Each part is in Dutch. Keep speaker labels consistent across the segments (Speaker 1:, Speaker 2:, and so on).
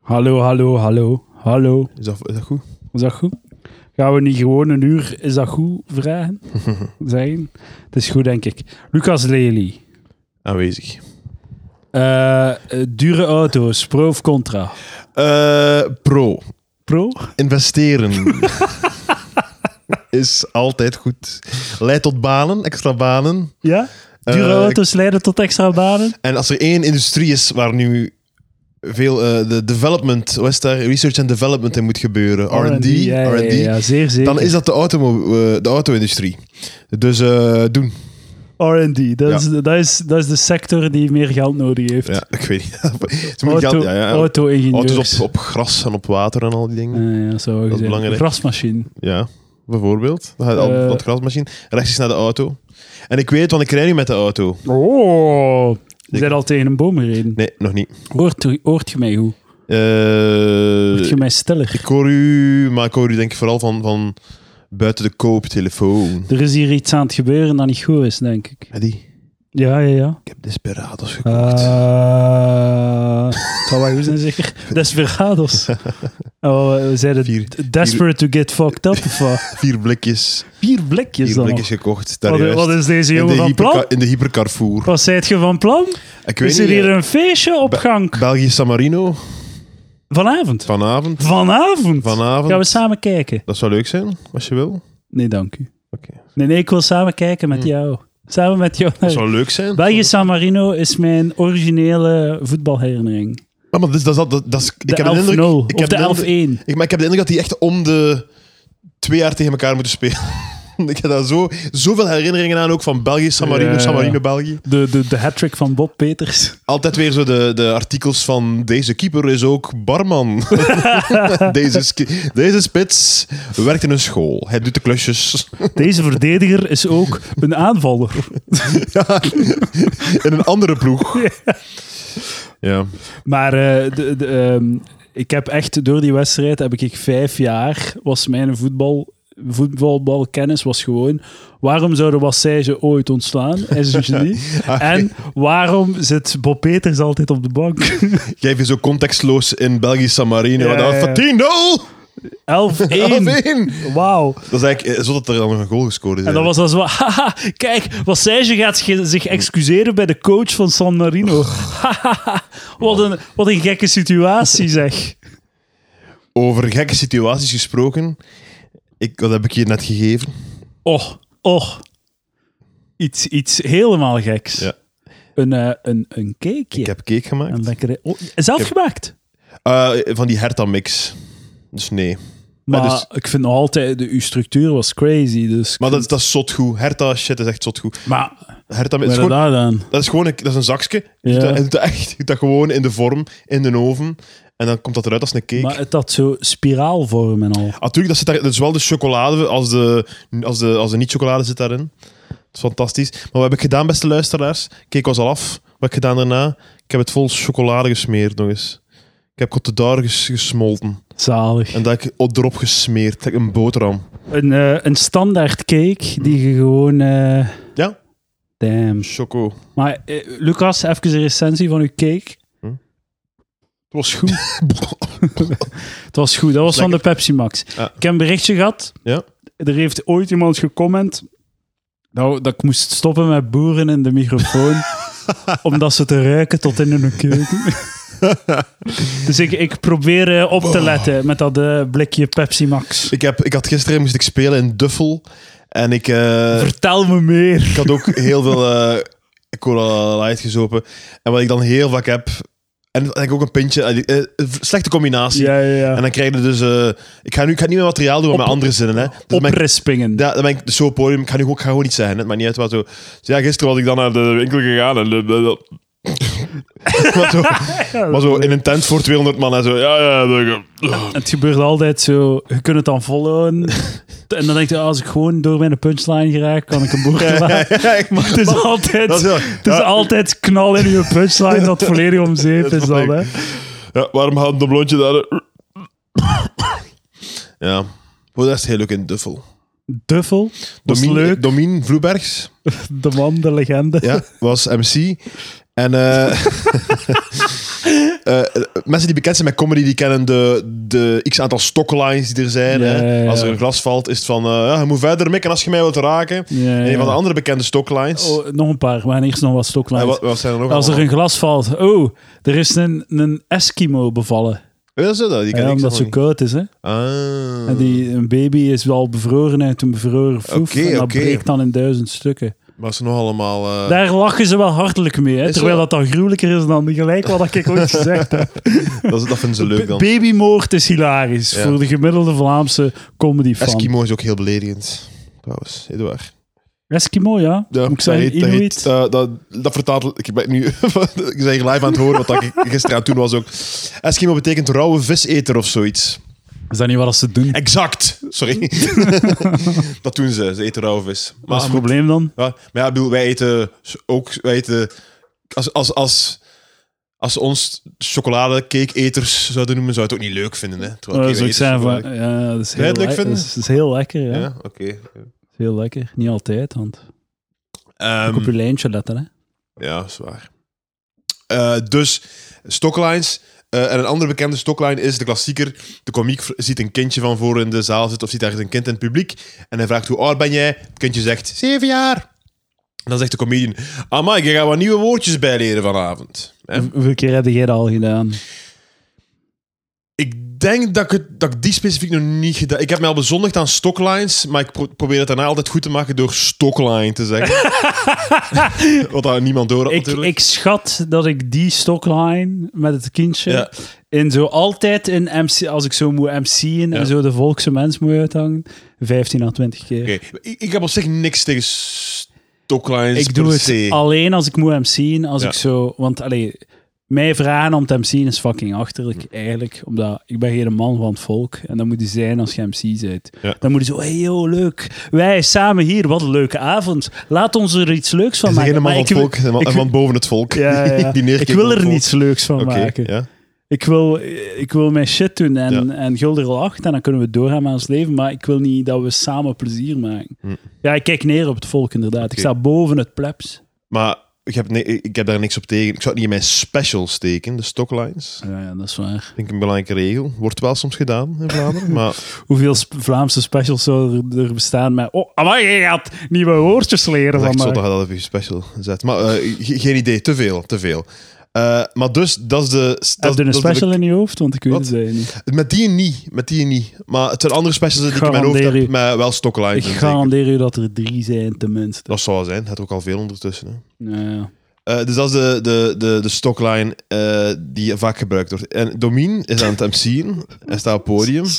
Speaker 1: Hallo, hallo, hallo, hallo.
Speaker 2: Is dat, is dat goed?
Speaker 1: Is dat goed? Gaan we niet gewoon een uur is dat goed vragen? Zeggen? Het is goed, denk ik. Lucas Lely.
Speaker 2: Aanwezig.
Speaker 1: Eh, dure auto's, pro of contra?
Speaker 2: Eh, pro.
Speaker 1: Pro?
Speaker 2: Investeren. is altijd goed. Leidt tot banen, extra banen.
Speaker 1: Ja? Dure
Speaker 2: Eh,
Speaker 1: auto's leiden tot extra banen?
Speaker 2: En als er één industrie is waar nu veel eh, de development, hoe is het daar, research and development in moet gebeuren, R&D,
Speaker 1: R&D, ja, ja,
Speaker 2: R&D,
Speaker 1: ja, zeer zeker.
Speaker 2: dan is dat de, automo- eh, de auto-industrie. Dus eh, doen.
Speaker 1: R&D, dat,
Speaker 2: Ja.
Speaker 1: is, dat, is, dat is de sector die meer geld nodig heeft.
Speaker 2: Ja, ik weet niet. Ze moeten
Speaker 1: Auto-
Speaker 2: geld- ja, ja.
Speaker 1: Auto-ingenieurs.
Speaker 2: Auto's op, op gras en op water en al die dingen.
Speaker 1: Eh, ja, zou
Speaker 2: is
Speaker 1: dat
Speaker 2: belangrijk.
Speaker 1: Grasmachine.
Speaker 2: Ja, bijvoorbeeld. Dan gaat het al
Speaker 1: Eh.
Speaker 2: van het grasmachine rechtstreeks naar de auto. En ik weet, want ik rij nu met de auto.
Speaker 1: Oh, je
Speaker 2: Ik-
Speaker 1: bent al tegen een boom gereden.
Speaker 2: Nee, nog niet.
Speaker 1: Hoort, hoort je mij goed?
Speaker 2: Eh,
Speaker 1: Hoort je mij stiller?
Speaker 2: ik hoor u, maar ik hoor u denk ik vooral van, van buiten de kooptelefoon.
Speaker 1: Er is hier iets aan het gebeuren dat niet goed is, denk ik.
Speaker 2: Eddie,
Speaker 1: Ja, ja, ja.
Speaker 2: ik heb Desperados
Speaker 1: Ah.
Speaker 2: gekocht.
Speaker 1: Eh, Het zal wel goed zijn, zeker. Desperados. Oh, we zeiden
Speaker 2: Vier-
Speaker 1: d- desperate to get fucked up. Of wat?
Speaker 2: Vier blikjes,
Speaker 1: Vier blikjes
Speaker 2: vier
Speaker 1: dan
Speaker 2: blikjes
Speaker 1: nog.
Speaker 2: gekocht. Daar
Speaker 1: Wat,
Speaker 2: juist.
Speaker 1: wat is deze
Speaker 2: in, de
Speaker 1: jongen van
Speaker 2: hyperca-
Speaker 1: plan?
Speaker 2: in de hypercarrefour.
Speaker 1: Wat zei je van plan?
Speaker 2: Ik weet
Speaker 1: Is er
Speaker 2: niet,
Speaker 1: hier
Speaker 2: eh,
Speaker 1: een feestje op
Speaker 2: Be-
Speaker 1: gang?
Speaker 2: België San Marino,
Speaker 1: Vanavond.
Speaker 2: vanavond.
Speaker 1: Vanavond?
Speaker 2: Vanavond.
Speaker 1: Gaan we samen kijken?
Speaker 2: Dat zou leuk zijn, als je wil.
Speaker 1: Nee, dank u.
Speaker 2: Oké.
Speaker 1: Nee, nee, ik wil samen kijken met jou. Samen met jou.
Speaker 2: Dat zou leuk zijn.
Speaker 1: België San Marino is mijn originele voetbalherinnering.
Speaker 2: Ja, maar dus, dat, is dat, dat, dat is,
Speaker 1: De
Speaker 2: ik heb de indruk...
Speaker 1: 11-0 of
Speaker 2: ik heb de indruk-
Speaker 1: de 11-1.
Speaker 2: Ik, maar ik heb de indruk dat die echt om de twee jaar tegen elkaar moeten spelen. ik heb daar zo, zoveel herinneringen aan, ook van België, San Marino,
Speaker 1: Ja.
Speaker 2: San Marino, België.
Speaker 1: De, de, de hat-trick van Bob Peters.
Speaker 2: Altijd weer zo de, de artikels van deze keeper is ook barman. deze, sk- deze spits werkt in een school. Hij doet de klusjes
Speaker 1: Deze verdediger is ook een aanvaller.
Speaker 2: in een andere ploeg. Ja.
Speaker 1: Maar eh, de, de, ehm, ik heb echt door die wedstrijd, heb ik, ik vijf jaar, was mijn voetbal, voetbalbalkennis was gewoon... Waarom zouden Wassage ooit ontslaan? Hij is een genie.
Speaker 2: Ah,
Speaker 1: En waarom zit Bob Peters altijd op de bank?
Speaker 2: Geef je zo contextloos in België, San Marino.
Speaker 1: Ja, ja,
Speaker 2: Ja,
Speaker 1: ja. 11-1.
Speaker 2: 10-0! 11-1.
Speaker 1: Wauw.
Speaker 2: Dat is eigenlijk eh, zodat er dan nog een goal gescoord is.
Speaker 1: En dan was dat zo, van, haha, kijk, wat zij ze gaat ge- zich excuseren bij de coach van San Marino.
Speaker 2: Oh.
Speaker 1: Hahaha, wat, een, wat een gekke situatie, zeg.
Speaker 2: Over gekke situaties gesproken. Ik, wat heb ik je net gegeven? Oh.
Speaker 1: Och, och. Oh. Iets, iets helemaal geks.
Speaker 2: Ja.
Speaker 1: Een, eh, een, een cakeje.
Speaker 2: Ik heb cake gemaakt.
Speaker 1: Een lekkere... oh, zelf
Speaker 2: Ik heb-
Speaker 1: gemaakt.
Speaker 2: Eh, van die Herta-mix. Dus nee.
Speaker 1: Maar
Speaker 2: Ja, dus-
Speaker 1: ik vind nog altijd, de, uw structuur was crazy. Dus
Speaker 2: Maar dat, dat is zotgoed. Herta, shit, is echt zotgoed.
Speaker 1: maar
Speaker 2: Herta,
Speaker 1: wat
Speaker 2: is
Speaker 1: is
Speaker 2: gewoon,
Speaker 1: dat dan?
Speaker 2: dat is gewoon een, dat is een zakje. Je
Speaker 1: Ja.
Speaker 2: doet dat- je doet dat echt, je doet dat gewoon in de vorm, in de oven. En dan komt dat eruit als een cake.
Speaker 1: Maar het had zo spiraalvorm en al.
Speaker 2: Natuurlijk, dat zit daar, dus wel de chocolade als de, als de, als de niet-chocolade zit daarin. Dat is fantastisch. Maar wat heb ik gedaan, beste luisteraars? Cake was al af. Wat heb ik gedaan daarna? Ik heb het vol chocolade gesmeerd nog eens. Ik heb Côte d'Or ges- gesmolten.
Speaker 1: Zalig.
Speaker 2: En dat heb ik erop gesmeerd. Dat heb ik een boterham.
Speaker 1: Een, eh, een standaard cake die je gewoon... eh,
Speaker 2: Hmm. Ja.
Speaker 1: Damn.
Speaker 2: Choco.
Speaker 1: Maar eh, Lucas, even een recensie van uw cake.
Speaker 2: Het was goed.
Speaker 1: Het was goed, dat was van de
Speaker 2: Lekker.
Speaker 1: Pepsi Max.
Speaker 2: Ja.
Speaker 1: Ik heb een berichtje gehad.
Speaker 2: Ja.
Speaker 1: Er heeft ooit iemand gecomment nou, dat ik moest stoppen met boeren in de microfoon. omdat ze te ruiken tot in hun keuken. dus ik, ik probeer eh, op
Speaker 2: Oh.
Speaker 1: te letten met dat eh, blikje Pepsi Max.
Speaker 2: ik, heb, ik had gisteren moest ik spelen in Duffel. En ik, eh,
Speaker 1: Vertel me meer.
Speaker 2: ik had ook heel veel eh, cola light gezopen. En wat ik dan heel vaak heb... En en ik ook een pintje. eh, eh, slechte combinatie.
Speaker 1: Ja, ja, ja.
Speaker 2: En dan krijg je dus... eh, ik, ga nu, ik ga niet meer materiaal doen, maar
Speaker 1: Op-
Speaker 2: met andere zinnen. Hè. Dus ben ik-
Speaker 1: Oprispingen.
Speaker 2: ja, dan ben ik dus zo op podium. Ik ga nu gewoon, ik ga gewoon iets zeggen. hè. Het maakt niet uit wat zo... Dus ja, gisteren was ik dan naar de winkel gegaan en... eh, de- de- de- maar, zo, maar zo in een tent voor 200 man en zo... Ja, ja, de-
Speaker 1: Het gebeurt altijd zo, je kunt het dan volhouden. En dan denk je, "Ah, als ik gewoon door mijn punchline geraak, kan ik een boer laten. Maar het is altijd,
Speaker 2: dat is heel-
Speaker 1: het is
Speaker 2: ja.
Speaker 1: altijd knal in je punchline dat volledig om zeep is dan. Hè.
Speaker 2: Ja, waarom had de blondje daar... ja. Voor de rest heel leuk in Duffel.
Speaker 1: Duffel, was
Speaker 2: Domien-
Speaker 1: leuk.
Speaker 2: Domien Vloebergs
Speaker 1: De man, de legende.
Speaker 2: ja, was MC. En eh, eh, mensen die bekend zijn met comedy, die kennen de, de x aantal stocklines die er zijn.
Speaker 1: Ja, ja,
Speaker 2: hè.
Speaker 1: ja.
Speaker 2: Als er een glas valt, is het van, eh, ja, je moet verder mikken als je mij wilt raken.
Speaker 1: Ja,
Speaker 2: En
Speaker 1: ja.
Speaker 2: een van de andere bekende stocklines.
Speaker 1: Oh, nog een paar, maar eerst nog wat
Speaker 2: Eh,
Speaker 1: stoklijn.
Speaker 2: wat, wat zijn er nog
Speaker 1: Als er
Speaker 2: allemaal?
Speaker 1: een glas valt, oh, er is een, een Eskimo bevallen.
Speaker 2: Ja, dat is dat. Die ken
Speaker 1: Ja, omdat
Speaker 2: ik
Speaker 1: het
Speaker 2: zelf
Speaker 1: zo
Speaker 2: nog
Speaker 1: koud is, hè.
Speaker 2: niet. Ah.
Speaker 1: En die, een baby is wel bevroren uit een bevroren foef.
Speaker 2: Oké,
Speaker 1: en dat
Speaker 2: oké.
Speaker 1: breekt dan in duizend stukken.
Speaker 2: Maar ze nog allemaal... eh,
Speaker 1: Daar lachen ze wel hartelijk mee, hè,
Speaker 2: Is
Speaker 1: terwijl
Speaker 2: wel-
Speaker 1: dat dan gruwelijker is dan gelijk wat ik ooit gezegd heb.
Speaker 2: dat, is- dat vinden ze leuk
Speaker 1: B-
Speaker 2: dan.
Speaker 1: Babymoord is hilarisch
Speaker 2: Ja.
Speaker 1: voor de gemiddelde Vlaamse comedy-fan. Eskimo.
Speaker 2: Eskimo is ook heel beledigend. Trouwens, Eduard.
Speaker 1: ja. Moet ik zeggen,
Speaker 2: dat,
Speaker 1: Inuit.
Speaker 2: heet, eh, dat, dat vertaalt... Ik ben nu ik ben hier live aan het horen, wat ik gisteren aan het doen was ook. Eskimo betekent rauwe viseter of zoiets.
Speaker 1: Is dat niet wat ze doen?
Speaker 2: Exact. Sorry. dat doen ze. Ze eten rauwe vis.
Speaker 1: Wat
Speaker 2: Maar,
Speaker 1: is het probleem dan?
Speaker 2: ja, maar ja, ik bedoel, wij eten ook... Wij eten, als, als, als, als ze ons chocoladecakeeters zouden noemen, zou je het ook niet leuk vinden. Hè? Terwijl
Speaker 1: Eh,
Speaker 2: cake
Speaker 1: zou ik
Speaker 2: eters
Speaker 1: zeggen van,
Speaker 2: chocolade-
Speaker 1: ja, dat is
Speaker 2: Zou
Speaker 1: heel,
Speaker 2: je het leuk
Speaker 1: lekker.
Speaker 2: vinden?
Speaker 1: dat is, dat is heel lekker, ja.
Speaker 2: Ja, oké.
Speaker 1: Dat is heel lekker. Niet altijd, want
Speaker 2: Ehm,
Speaker 1: ook op je lijntje letten, hè.
Speaker 2: Ja, zwaar. dus stocklines. Eh, en een andere bekende stockline is de klassieker. De komiek v- ziet een kindje van voor in de zaal zitten of ziet ergens een kind in het publiek. En hij vraagt hoe oud ben jij? Het kindje zegt zeven jaar. En dan zegt de comedian, amai, je gaat wat nieuwe woordjes bijleren vanavond. Hè?
Speaker 1: Hoeveel keer heb jij dat al gedaan?
Speaker 2: Ik denk dat ik, het- dat ik die specifiek nog niet gedaan Ik heb mij al bezondigd aan stocklines, maar ik pro- probeer het daarna altijd goed te maken door stockline te zeggen. Wat daar niemand door had
Speaker 1: Ik,
Speaker 2: natuurlijk.
Speaker 1: ik schat dat ik die stockline met het kindje
Speaker 2: Ja.
Speaker 1: in zo altijd in MC, als ik zo moet MC'en
Speaker 2: Ja.
Speaker 1: en zo de volkse mens moet uithangen, 15 à 20 keer.
Speaker 2: Oké, ik, ik heb op zich niks tegen stocklines
Speaker 1: Ik doe
Speaker 2: dus per
Speaker 1: het
Speaker 2: se.
Speaker 1: alleen als ik moet MC'en, als
Speaker 2: Ja.
Speaker 1: ik zo... Want allee, mij vragen om te MC'en is fucking achterlijk,
Speaker 2: Hm.
Speaker 1: eigenlijk. Omdat ik ben geen man van het volk. En dat moet je zijn als je MC bent.
Speaker 2: Ja.
Speaker 1: Dan moet je zo, hey yo, leuk. Wij samen hier, wat een leuke avond. Laat ons er iets leuks van
Speaker 2: Is er
Speaker 1: maken.
Speaker 2: geen
Speaker 1: Maar
Speaker 2: man van
Speaker 1: ik
Speaker 2: het
Speaker 1: wil-
Speaker 2: volk, een man,
Speaker 1: ik
Speaker 2: een man boven het volk.
Speaker 1: Ja, ja, ja.
Speaker 2: Die neerkijkt
Speaker 1: ik wil
Speaker 2: op het
Speaker 1: er
Speaker 2: volk.
Speaker 1: niets leuks van
Speaker 2: Oké,
Speaker 1: maken.
Speaker 2: ja.
Speaker 1: Ik, wil, ik wil mijn shit doen en, en Gulder lacht en dan kunnen we doorgaan met ons leven. Maar ik wil niet dat we samen plezier maken.
Speaker 2: Hm.
Speaker 1: Ja, ik kijk neer op het volk inderdaad. Ik
Speaker 2: Oké.
Speaker 1: sta boven het plebs.
Speaker 2: Maar ik heb, ni- ik heb daar niks op tegen. Ik zou het niet in mijn special steken, de stocklines.
Speaker 1: Ja, ja, dat is waar.
Speaker 2: Ik denk een belangrijke regel. Wordt wel soms gedaan in Vlaanderen, maar
Speaker 1: Hoeveel sp- Vlaamse specials zouden er, er bestaan met... Oh, amai, je gaat nieuwe woordjes leren
Speaker 2: dat is
Speaker 1: van
Speaker 2: echt
Speaker 1: mij.
Speaker 2: zot dat je dat op je special zet. Maar eh, ge- geen idee, te veel, te veel. Eh, maar dus, dat is de...
Speaker 1: Heb
Speaker 2: dat-
Speaker 1: je een
Speaker 2: dat is de-
Speaker 1: special in je hoofd? Want ik weet
Speaker 2: Wat?
Speaker 1: het eigenlijk niet.
Speaker 2: met die niet, met die niet. Maar het zijn andere specials die ik in mijn hoofd
Speaker 1: Garandeer
Speaker 2: heb,
Speaker 1: u.
Speaker 2: maar wel stocklines.
Speaker 1: Ik
Speaker 2: zeker.
Speaker 1: garandeer je dat er drie zijn, tenminste.
Speaker 2: Dat zou wel zijn, het had ook al veel ondertussen. Hè.
Speaker 1: Ja.
Speaker 2: Eh, dus dat is de, de, de, de stockline eh, die vaak gebruikt wordt. En Domien is aan het MC'en. Hij staat op het podium.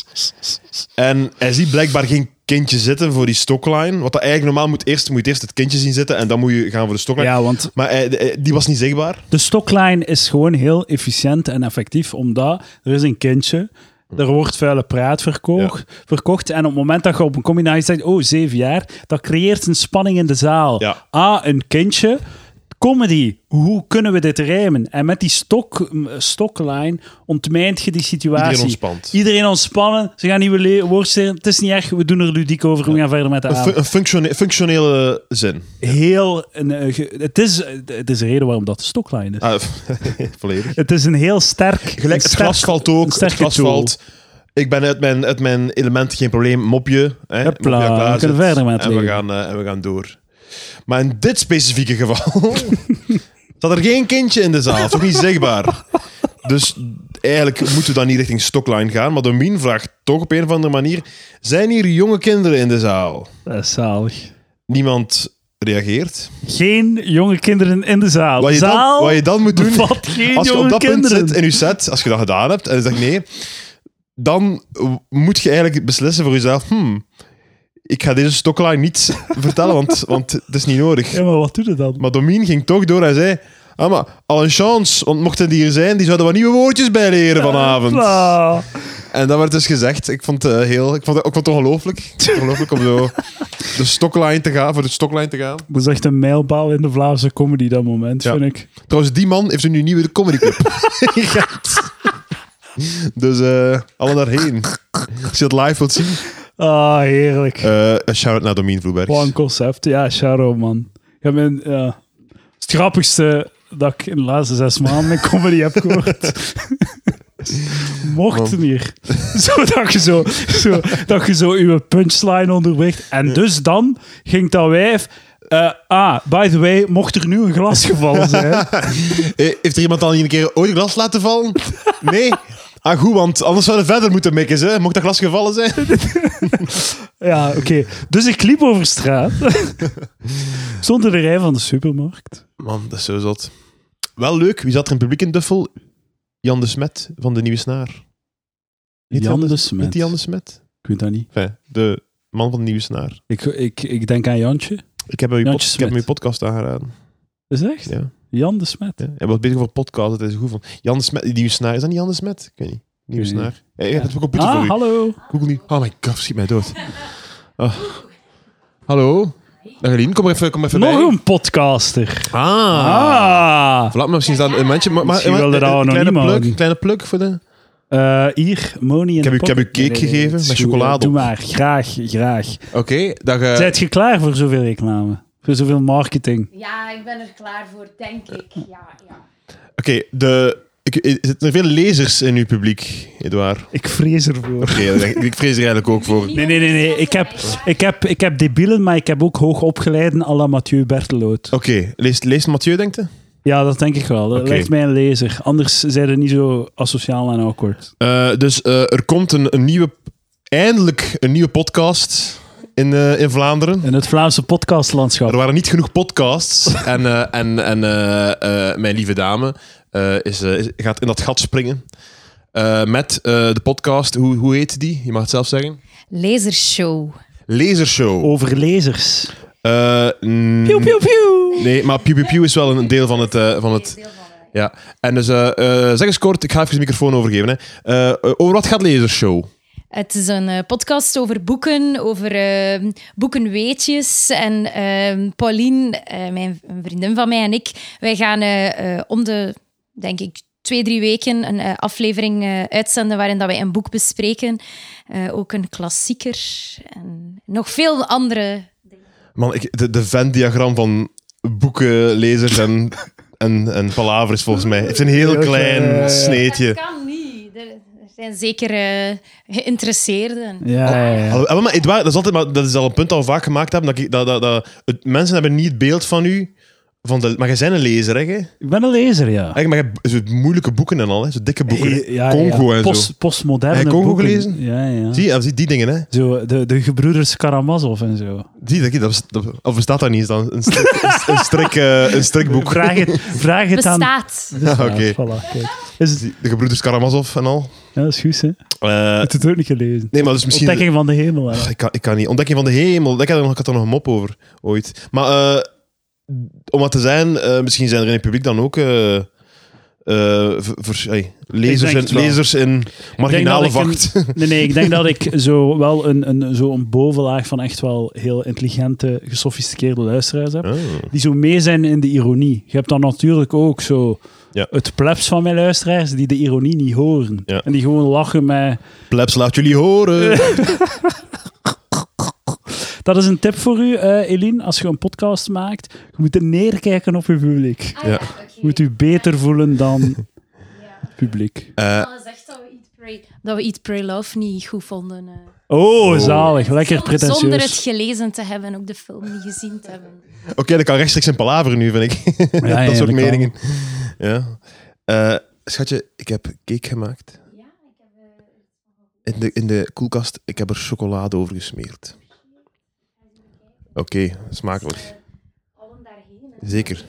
Speaker 2: En hij ziet blijkbaar geen kindje zitten voor die stockline. Wat dat eigenlijk normaal moet eerst, moet je eerst het kindje zien zitten en dan moet je gaan voor de stockline.
Speaker 1: ja, want
Speaker 2: Maar hij- hij- die was niet zichtbaar.
Speaker 1: De stoklijn is gewoon heel efficiënt en effectief, omdat er is een kindje, er wordt vuile praat verkocht, verkocht en op het moment dat je op een combinatie zegt, oh, zeven jaar, dat creëert een spanning in de zaal.
Speaker 2: Ja.
Speaker 1: Ah, een kindje, comedy, hoe kunnen we dit rijmen? En met die stok, m, stoklijn ontmijnt je die situatie.
Speaker 2: Iedereen ontspant.
Speaker 1: Iedereen ontspannen, ze gaan nieuwe le- woordstelen, het is niet erg, we doen er ludiek over, we gaan verder met de
Speaker 2: Een,
Speaker 1: avond
Speaker 2: fun- een functione- functionele zin.
Speaker 1: heel. Een, eh, ge- het, is, het is de reden waarom dat de stoklijn is.
Speaker 2: Ah, volledig.
Speaker 1: Het is een heel sterk.
Speaker 2: Gelijk,
Speaker 1: een
Speaker 2: het
Speaker 1: sterk-
Speaker 2: glas valt ook.
Speaker 1: een
Speaker 2: Het
Speaker 1: sterke
Speaker 2: glas
Speaker 1: tool.
Speaker 2: valt. Ik ben uit mijn, uit mijn element, geen probleem. Mopje. Hè,
Speaker 1: Hopla,
Speaker 2: mopje aan klaar
Speaker 1: we kunnen
Speaker 2: zit.
Speaker 1: verder met het
Speaker 2: en we,
Speaker 1: leven.
Speaker 2: gaan, eh, en we gaan door. Maar in dit specifieke geval zat er geen kindje in de zaal. Toch niet zichtbaar. Dus eigenlijk moeten we dan niet richting Stockline gaan. Maar Domien vraagt toch op een of andere manier... Zijn hier jonge kinderen in de zaal?
Speaker 1: Dat is Eh, zalig.
Speaker 2: Niemand reageert.
Speaker 1: Geen jonge kinderen in de zaal.
Speaker 2: Wat je,
Speaker 1: zaal
Speaker 2: dan, wat je dan moet doen...
Speaker 1: bevat geen
Speaker 2: Als je
Speaker 1: jonge
Speaker 2: op dat
Speaker 1: kinderen.
Speaker 2: punt zit in je set, als je dat gedaan hebt en je zegt nee, dan w- moet je eigenlijk beslissen voor jezelf: hmm, ik ga deze stockline niet vertellen, want, want het is niet nodig.
Speaker 1: Ja, maar wat doe je dan?
Speaker 2: Maar Domien ging toch door en zei: ah, maar al een chance, want mochten die hier zijn, die zouden wat nieuwe woordjes bijleren vanavond.
Speaker 1: Hopla.
Speaker 2: En dat werd dus gezegd. Ik vond het eh, heel, ik vond het, ik vond het ongelooflijk. Ik vond het Ongelooflijk om zo de stockline te gaan, voor de stockline te gaan.
Speaker 1: Dat is echt een mijlpaal in de Vlaamse comedy, dat moment,
Speaker 2: Ja.
Speaker 1: vind ik.
Speaker 2: Trouwens, die man heeft er nu nieuwe comedy club. dus eh alle daarheen. Als je het live wilt zien,
Speaker 1: Ah, heerlijk.
Speaker 2: eh, een shout-out naar Domien Vloeberg.
Speaker 1: Wat een concept. Ja, Charo, man. Ja, mijn, ja. Het grappigste dat ik in de laatste zes maanden mijn comedy heb gehoord. Mocht meer. Zo dat, je zo, zo dat je zo uw punchline onderweg. En dus dan ging dat wijf. eh, ah, by the way, mocht er nu een glas gevallen zijn.
Speaker 2: Eh, Heeft er iemand al een keer ooit een glas laten vallen? Nee? Ah, goed, want anders zouden we verder moeten mikken, hè? Mocht dat glas gevallen zijn?
Speaker 1: Ja, oké. Dus ik liep over straat. Stond in de rij van de supermarkt.
Speaker 2: Man, dat is zo zot. Wel leuk. Wie zat er in het publiek in Duffel? Jan de Smet van De Nieuwe Snaar. Niet
Speaker 1: Jan de
Speaker 2: Niet
Speaker 1: Smet.
Speaker 2: die Jan de Smet?
Speaker 1: Ik weet dat niet.
Speaker 2: Enfin, de man van De Nieuwe Snaar.
Speaker 1: Ik, ik, ik denk aan Jantje.
Speaker 2: Ik heb hem uw,
Speaker 1: Jantje
Speaker 2: pod- ik heb hem
Speaker 1: Smet.
Speaker 2: uw podcast aangeraden.
Speaker 1: Is dat echt?
Speaker 2: Ja,
Speaker 1: Jan de Smet.
Speaker 2: ja. Hij was bezig over podcast, dat hij zo goed vond. Jan de Smet, Die Nieuwe Snaar. Is dat niet Jan de Smet? Ik weet niet. Nieuwe
Speaker 1: Ik weet
Speaker 2: Snaar. Eh, Ik heb het op computer voor
Speaker 1: Ah,
Speaker 2: u.
Speaker 1: hallo.
Speaker 2: Google niet. Oh my god, schiet mij dood. Ah. Hallo? Dag Eline, kom maar even, kom maar even bij.
Speaker 1: Nog een podcaster.
Speaker 2: Ah.
Speaker 1: Ah.
Speaker 2: Voilà, maar misschien is dat een mensje. Maar, maar,
Speaker 1: Misschien wilde
Speaker 2: maar-
Speaker 1: dat
Speaker 2: een
Speaker 1: anoniem
Speaker 2: kleine plug,
Speaker 1: houden.
Speaker 2: kleine plug voor de...
Speaker 1: Eh, hier, Moni en
Speaker 2: heb
Speaker 1: de
Speaker 2: u- ik heb u
Speaker 1: pocket.
Speaker 2: cake gegeven
Speaker 1: het is
Speaker 2: met
Speaker 1: goed.
Speaker 2: chocolade
Speaker 1: Doe
Speaker 2: op.
Speaker 1: maar, graag, graag.
Speaker 2: Oké, dag... eh,
Speaker 1: Zijt je klaar voor zoveel reclame? Voor zoveel marketing?
Speaker 3: Ja, ik ben er klaar voor, denk ik. Ja, ja.
Speaker 2: Oké, de... Ik, er zitten veel lezers in uw publiek, Edouard. Oké,
Speaker 1: Ik vrees ervoor.
Speaker 2: dat denk ik- ik vrees er eigenlijk ook voor.
Speaker 1: Nee, nee, nee, nee. Ik heb, ik heb, ik heb debielen, maar ik heb ook hoogopgeleiden à la Mathieu Berteloot.
Speaker 2: Oké, leest, leest Mathieu, denkt hij?
Speaker 1: Ja, dat denk ik wel. Dat
Speaker 2: Oké.
Speaker 1: lijkt mij een lezer. Anders zijn ze niet zo asociaal en awkward.
Speaker 2: Eh, dus eh, er komt een, een nieuwe... Eindelijk een nieuwe podcast in, eh, in Vlaanderen.
Speaker 1: In het Vlaamse podcastlandschap.
Speaker 2: Er waren niet genoeg podcasts. en eh, en, en eh, eh, mijn lieve dame eh, is, eh, is- gaat in dat gat springen. Eh, met eh, de podcast, hoe, hoe heet die? Je mag het zelf zeggen.
Speaker 3: Lasershow.
Speaker 2: Lasershow.
Speaker 1: Over lezers.
Speaker 2: Eh, mm,
Speaker 1: Oh. Piu, piu, piu.
Speaker 2: Nee, maar Pew Pew Pew is wel een deel van het... eh, van het ja. En dus, eh, eh, zeg eens kort, ik ga even de microfoon overgeven. Hè. Eh, eh, over wat gaat Lasershow?
Speaker 3: Het is een eh, podcast over boeken, over ehm, boekenweetjes. En ehm Pauline, eh, mijn, een vriendin van mij en ik, wij gaan eh, eh, om de, denk ik, twee, drie weken een eh, aflevering eh, uitzenden waarin dat wij een boek bespreken. Eh, ook een klassieker en nog veel andere
Speaker 2: Man, ik, de, de Venn-diagram van boeken, lezers en, en, en palaver is volgens mij... Het is een heel
Speaker 1: Heel klein, ja, ja.
Speaker 2: klein sneetje.
Speaker 3: Dat kan niet. Er er zijn zeker eh, geïnteresseerden.
Speaker 1: Ja, ja, ja.
Speaker 2: Alhoewel, maar Edouard, dat is, altijd, maar dat is al een punt dat we vaak gemaakt hebben. Dat ik, dat, dat, dat, het- mensen hebben niet het beeld van u. Van de, maar jij bent een lezer, hè? jij?
Speaker 1: Ik ben een lezer, ja.
Speaker 2: Eigenlijk, maar jij hebt zo moeilijke boeken en al, hè? Zo dikke Ah, boeken. hè.
Speaker 1: Ja, ja,
Speaker 2: Congo en
Speaker 1: Post,
Speaker 2: zo.
Speaker 1: Postmoderne
Speaker 2: Heb je Congo
Speaker 1: boeken.
Speaker 2: gelezen?
Speaker 1: Ja, ja.
Speaker 2: Zie, je, zie die dingen, hè?
Speaker 1: Zo, de, de gebroeders Karamazov en zo.
Speaker 2: Zie, dat, dat, dat, of bestaat dat niet? Is dat een, strik, een, een strik, eh, een strikboek?
Speaker 1: Vraag het, vraag het aan...
Speaker 3: Bestaat.
Speaker 2: Ja, oké.
Speaker 1: voilà, kijk. Is het,
Speaker 2: De gebroeders Karamazov en al.
Speaker 1: ja, dat is goed, hè. Ik
Speaker 2: Eh,
Speaker 1: heb het ook niet gelezen.
Speaker 2: nee, maar dus misschien...
Speaker 1: Ontdekking van de hemel. hè.
Speaker 2: Ach, ik, kan, ik kan niet. Ontdekking van de hemel. Ik had, er nog, ik had er nog een mop over, ooit. Maar eh, om wat te zijn, eh, misschien zijn er in het publiek dan ook eh, eh, ver- vers- ey, lezers,
Speaker 1: denk het
Speaker 2: in,
Speaker 1: wel.
Speaker 2: lezers in marginale
Speaker 1: Ik denk dat
Speaker 2: vacht.
Speaker 1: Nee, nee, ik denk dat ik zo wel een, een, zo een bovenlaag van echt wel heel intelligente, gesofisticeerde luisteraars heb.
Speaker 2: Oh.
Speaker 1: die zo mee zijn in de ironie. Je hebt dan natuurlijk ook zo
Speaker 2: Ja.
Speaker 1: het plebs van mijn luisteraars die de ironie niet horen.
Speaker 2: Ja.
Speaker 1: En die gewoon lachen met...
Speaker 2: Plebs, laat jullie horen.
Speaker 1: Dat is een tip voor u, eh Eline, als je een podcast maakt. Je moet er neerkijken op je publiek.
Speaker 3: Ah, ja.
Speaker 2: Ja.
Speaker 3: oké.
Speaker 1: Je moet u beter voelen dan het
Speaker 3: Ja.
Speaker 1: publiek.
Speaker 2: Eh,
Speaker 3: Alles echt Oh, dat we Eat, Pray, dat we Eat, Pray, Love niet goed vonden. eh.
Speaker 1: Oh, zalig. Lekker
Speaker 3: Zonder- Zonder het
Speaker 1: pretentieus.
Speaker 3: gelezen te hebben en ook de film niet gezien te hebben.
Speaker 2: Oké, dat kan rechtstreeks in palaver nu, vind ik.
Speaker 1: ja,
Speaker 2: dat soort
Speaker 1: dat kan.
Speaker 2: meningen. Ja. Eh, schatje, ik heb cake gemaakt.
Speaker 3: Ja, ik heb...
Speaker 2: In de, in de koelkast, ik heb er chocolade over gesmeerd. Oké, smakelijk.
Speaker 3: allen daarheen.
Speaker 2: Zeker.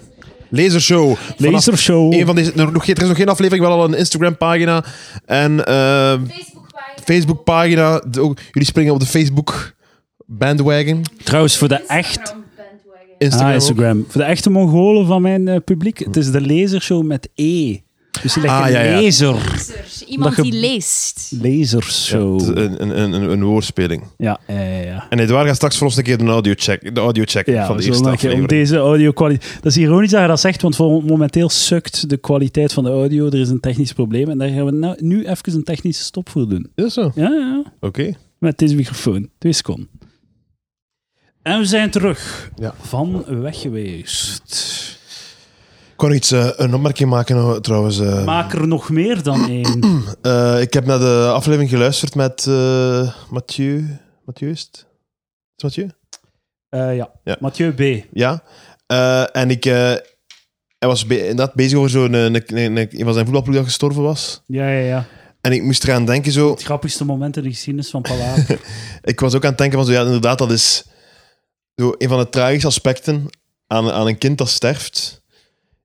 Speaker 2: Lasershow. Vanaf
Speaker 1: Lasershow.
Speaker 2: Een van deze, er, nog, geen- er is nog geen aflevering, wel al een Instagram-pagina en eh
Speaker 3: Facebook-pagina.
Speaker 2: Facebook-pagina. De- ook- Jullie springen op de Facebook-bandwagon.
Speaker 1: Trouwens, voor de echt...
Speaker 3: Instagram-bandwagon.
Speaker 2: Instagram.
Speaker 1: Ah,
Speaker 2: ook.
Speaker 1: Instagram. Voor de echte Mongolen van mijn eh, publiek, het is de lasershow met E. Dus je legt
Speaker 2: Ah,
Speaker 1: een
Speaker 2: ja, ja.
Speaker 1: laser.
Speaker 3: Iemand
Speaker 1: Dat je-
Speaker 3: die leest.
Speaker 2: Ja,
Speaker 1: Lasershow.
Speaker 2: het eh, is een, een, een, een- een woordspeling.
Speaker 1: Ja, ja, ja. ja.
Speaker 2: En Edouard gaat straks voor ons een keer de audio-check de audio check
Speaker 1: Ja,
Speaker 2: van de
Speaker 1: we zullen
Speaker 2: eerste
Speaker 1: een keer om
Speaker 2: aflevering.
Speaker 1: deze audio kwaliteit. Dat is ironisch dat je dat zegt, want voor- momenteel sukt de kwaliteit van de audio. Er is een technisch probleem en daar gaan we nou, nu even een technische stop voor doen.
Speaker 2: Is dat zo? Oké.
Speaker 1: Ja, ja. Met deze microfoon. Twee seconden. En we zijn terug
Speaker 2: Ja.
Speaker 1: van weg geweest.
Speaker 2: kon iets, eh, een opmerking maken eh, trouwens. eh.
Speaker 1: Maak er nog meer dan één.
Speaker 2: Eh, ik heb naar de aflevering geluisterd met eh, Mathieu. Mathieu is het? Is het Mathieu?
Speaker 1: Eh, ja.
Speaker 2: Ja.
Speaker 1: Mathieu B.
Speaker 2: Ja. Eh, en ik... eh, hij was be- inderdaad bezig over zo'n... eh, Een, een, een, een van zijn voetbalploeg dat gestorven was.
Speaker 1: Ja, ja, ja.
Speaker 2: En ik moest eraan denken zo...
Speaker 1: Het grappigste moment in de geschiedenis van Palaver.
Speaker 2: Ik was ook aan het denken van zo... Ja, inderdaad, dat is... Zo, een van de tragische aspecten aan, aan een kind dat sterft...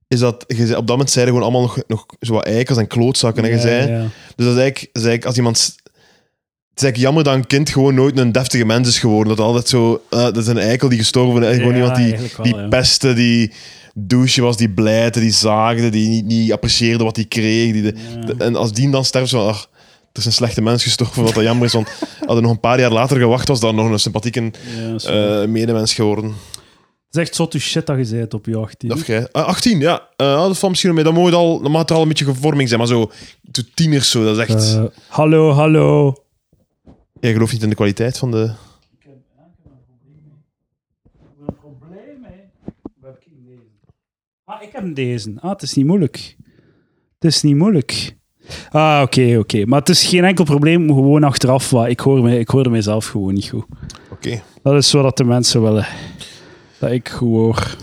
Speaker 2: Is dat... je zei- Op dat moment zeiden gewoon allemaal nog, nog zo wat eikels en klootzakken. En je
Speaker 1: Ja,
Speaker 2: zei...
Speaker 1: ja.
Speaker 2: Dus dat is eigenlijk, dat is eigenlijk als iemand. s- Het is eigenlijk jammer dat een kind gewoon nooit een deftige mens is geworden. Dat altijd zo. eh, dat is een eikel die gestorven is. Gewoon
Speaker 1: Ja,
Speaker 2: iemand die,
Speaker 1: eigenlijk wel,
Speaker 2: die
Speaker 1: ja.
Speaker 2: pestte, die douche was, die blijte, die zaagde, die niet, niet apprecieerde wat hij kreeg. Die de- de- en als die dan sterft, zo. Ach, het is een slechte mens gestorven, wat dat jammer is. Want hadden we nog een paar jaar later gewacht, was dan nog een sympathieke
Speaker 1: Ja, sorry. Hm?
Speaker 2: eh, medemens geworden.
Speaker 1: Het is echt zotte shit dat je bent op je 18.
Speaker 2: Of jij? eh, 18, ja. Eh, dat valt misschien nog mee. Dan, moet het al, dan mag het al een beetje gevorming zijn. Maar zo, zo tieners zo, dat is echt...
Speaker 1: Eh, hallo, hallo.
Speaker 2: Jij gelooft niet in de kwaliteit van de...
Speaker 1: een probleem, hè? Waar heb ik deze? Ah, ik heb deze. Ah, het is niet moeilijk. Het is niet moeilijk. Ah, oké, oké. Maar het is geen enkel probleem, gewoon achteraf. Wat. Ik, hoor me, ik hoorde mezelf gewoon niet goed.
Speaker 2: Oké.
Speaker 1: Dat is wat de mensen willen. Dat ik goed hoor.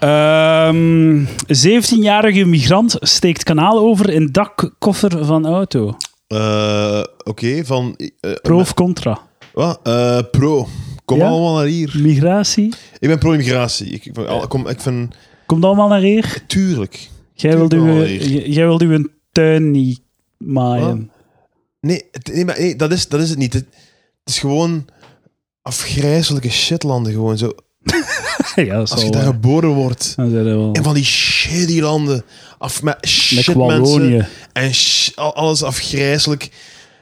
Speaker 1: Ehm, 17-jarige migrant steekt kanaal over in dakkoffer van auto.
Speaker 2: Eh, Oké, van... eh,
Speaker 1: Pro of contra?
Speaker 2: wat? Eh, pro. Kom
Speaker 1: Ja?
Speaker 2: allemaal naar hier.
Speaker 1: Migratie?
Speaker 2: Ik ben pro-immigratie. Ik, ik, ben- al- kom, ik vind...
Speaker 1: Komt allemaal naar hier?
Speaker 2: Tuurlijk.
Speaker 1: Jij wilde,
Speaker 2: Tuurlijk
Speaker 1: uw,
Speaker 2: wel hier.
Speaker 1: j- jij wilde uw tuin niet maaien.
Speaker 2: Nee, het- nee, maar, nee dat, is, dat is het niet. Het, het is gewoon afgrijzelijke shitlanden. Gewoon zo.
Speaker 1: ja, dat is
Speaker 2: Als je
Speaker 1: wel
Speaker 2: daar
Speaker 1: waar.
Speaker 2: geboren wordt.
Speaker 1: Dan zijn we wel.
Speaker 2: En van die shitty landen. Af met
Speaker 1: Met
Speaker 2: shit mensen.
Speaker 1: Wallonië.
Speaker 2: En sh- al- alles afgrijzelijk.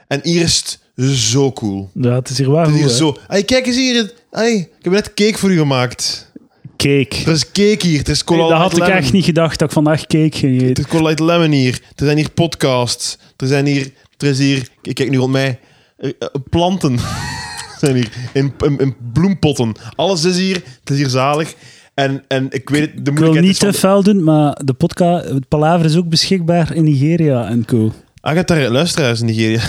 Speaker 2: En hier is het zo cool.
Speaker 1: Ja, het is hier waar.
Speaker 2: Het is hier
Speaker 1: goed, hè?
Speaker 2: zo... Hey, kijk eens hier. Hey, ik heb net cake voor u gemaakt.
Speaker 1: Cake.
Speaker 2: Er is cake hier, er is cola
Speaker 1: Nee, dat had ik
Speaker 2: light lemon.
Speaker 1: echt niet gedacht dat ik vandaag cake ging
Speaker 2: Er
Speaker 1: eten.
Speaker 2: is cola light lemon hier, er zijn hier podcasts, er zijn hier, er is hier, ik kijk nu rond mij, er- eh, planten zijn hier, in, in, in bloempotten. Alles is hier, het is hier zalig. En, en ik weet het, de
Speaker 1: Ik wil
Speaker 2: moeilijkheid
Speaker 1: niet te
Speaker 2: is van...
Speaker 1: fel doen, maar de podcast, het palaver is ook beschikbaar in Nigeria en co.
Speaker 2: Ah, je hebt daar luisteraars in Nigeria.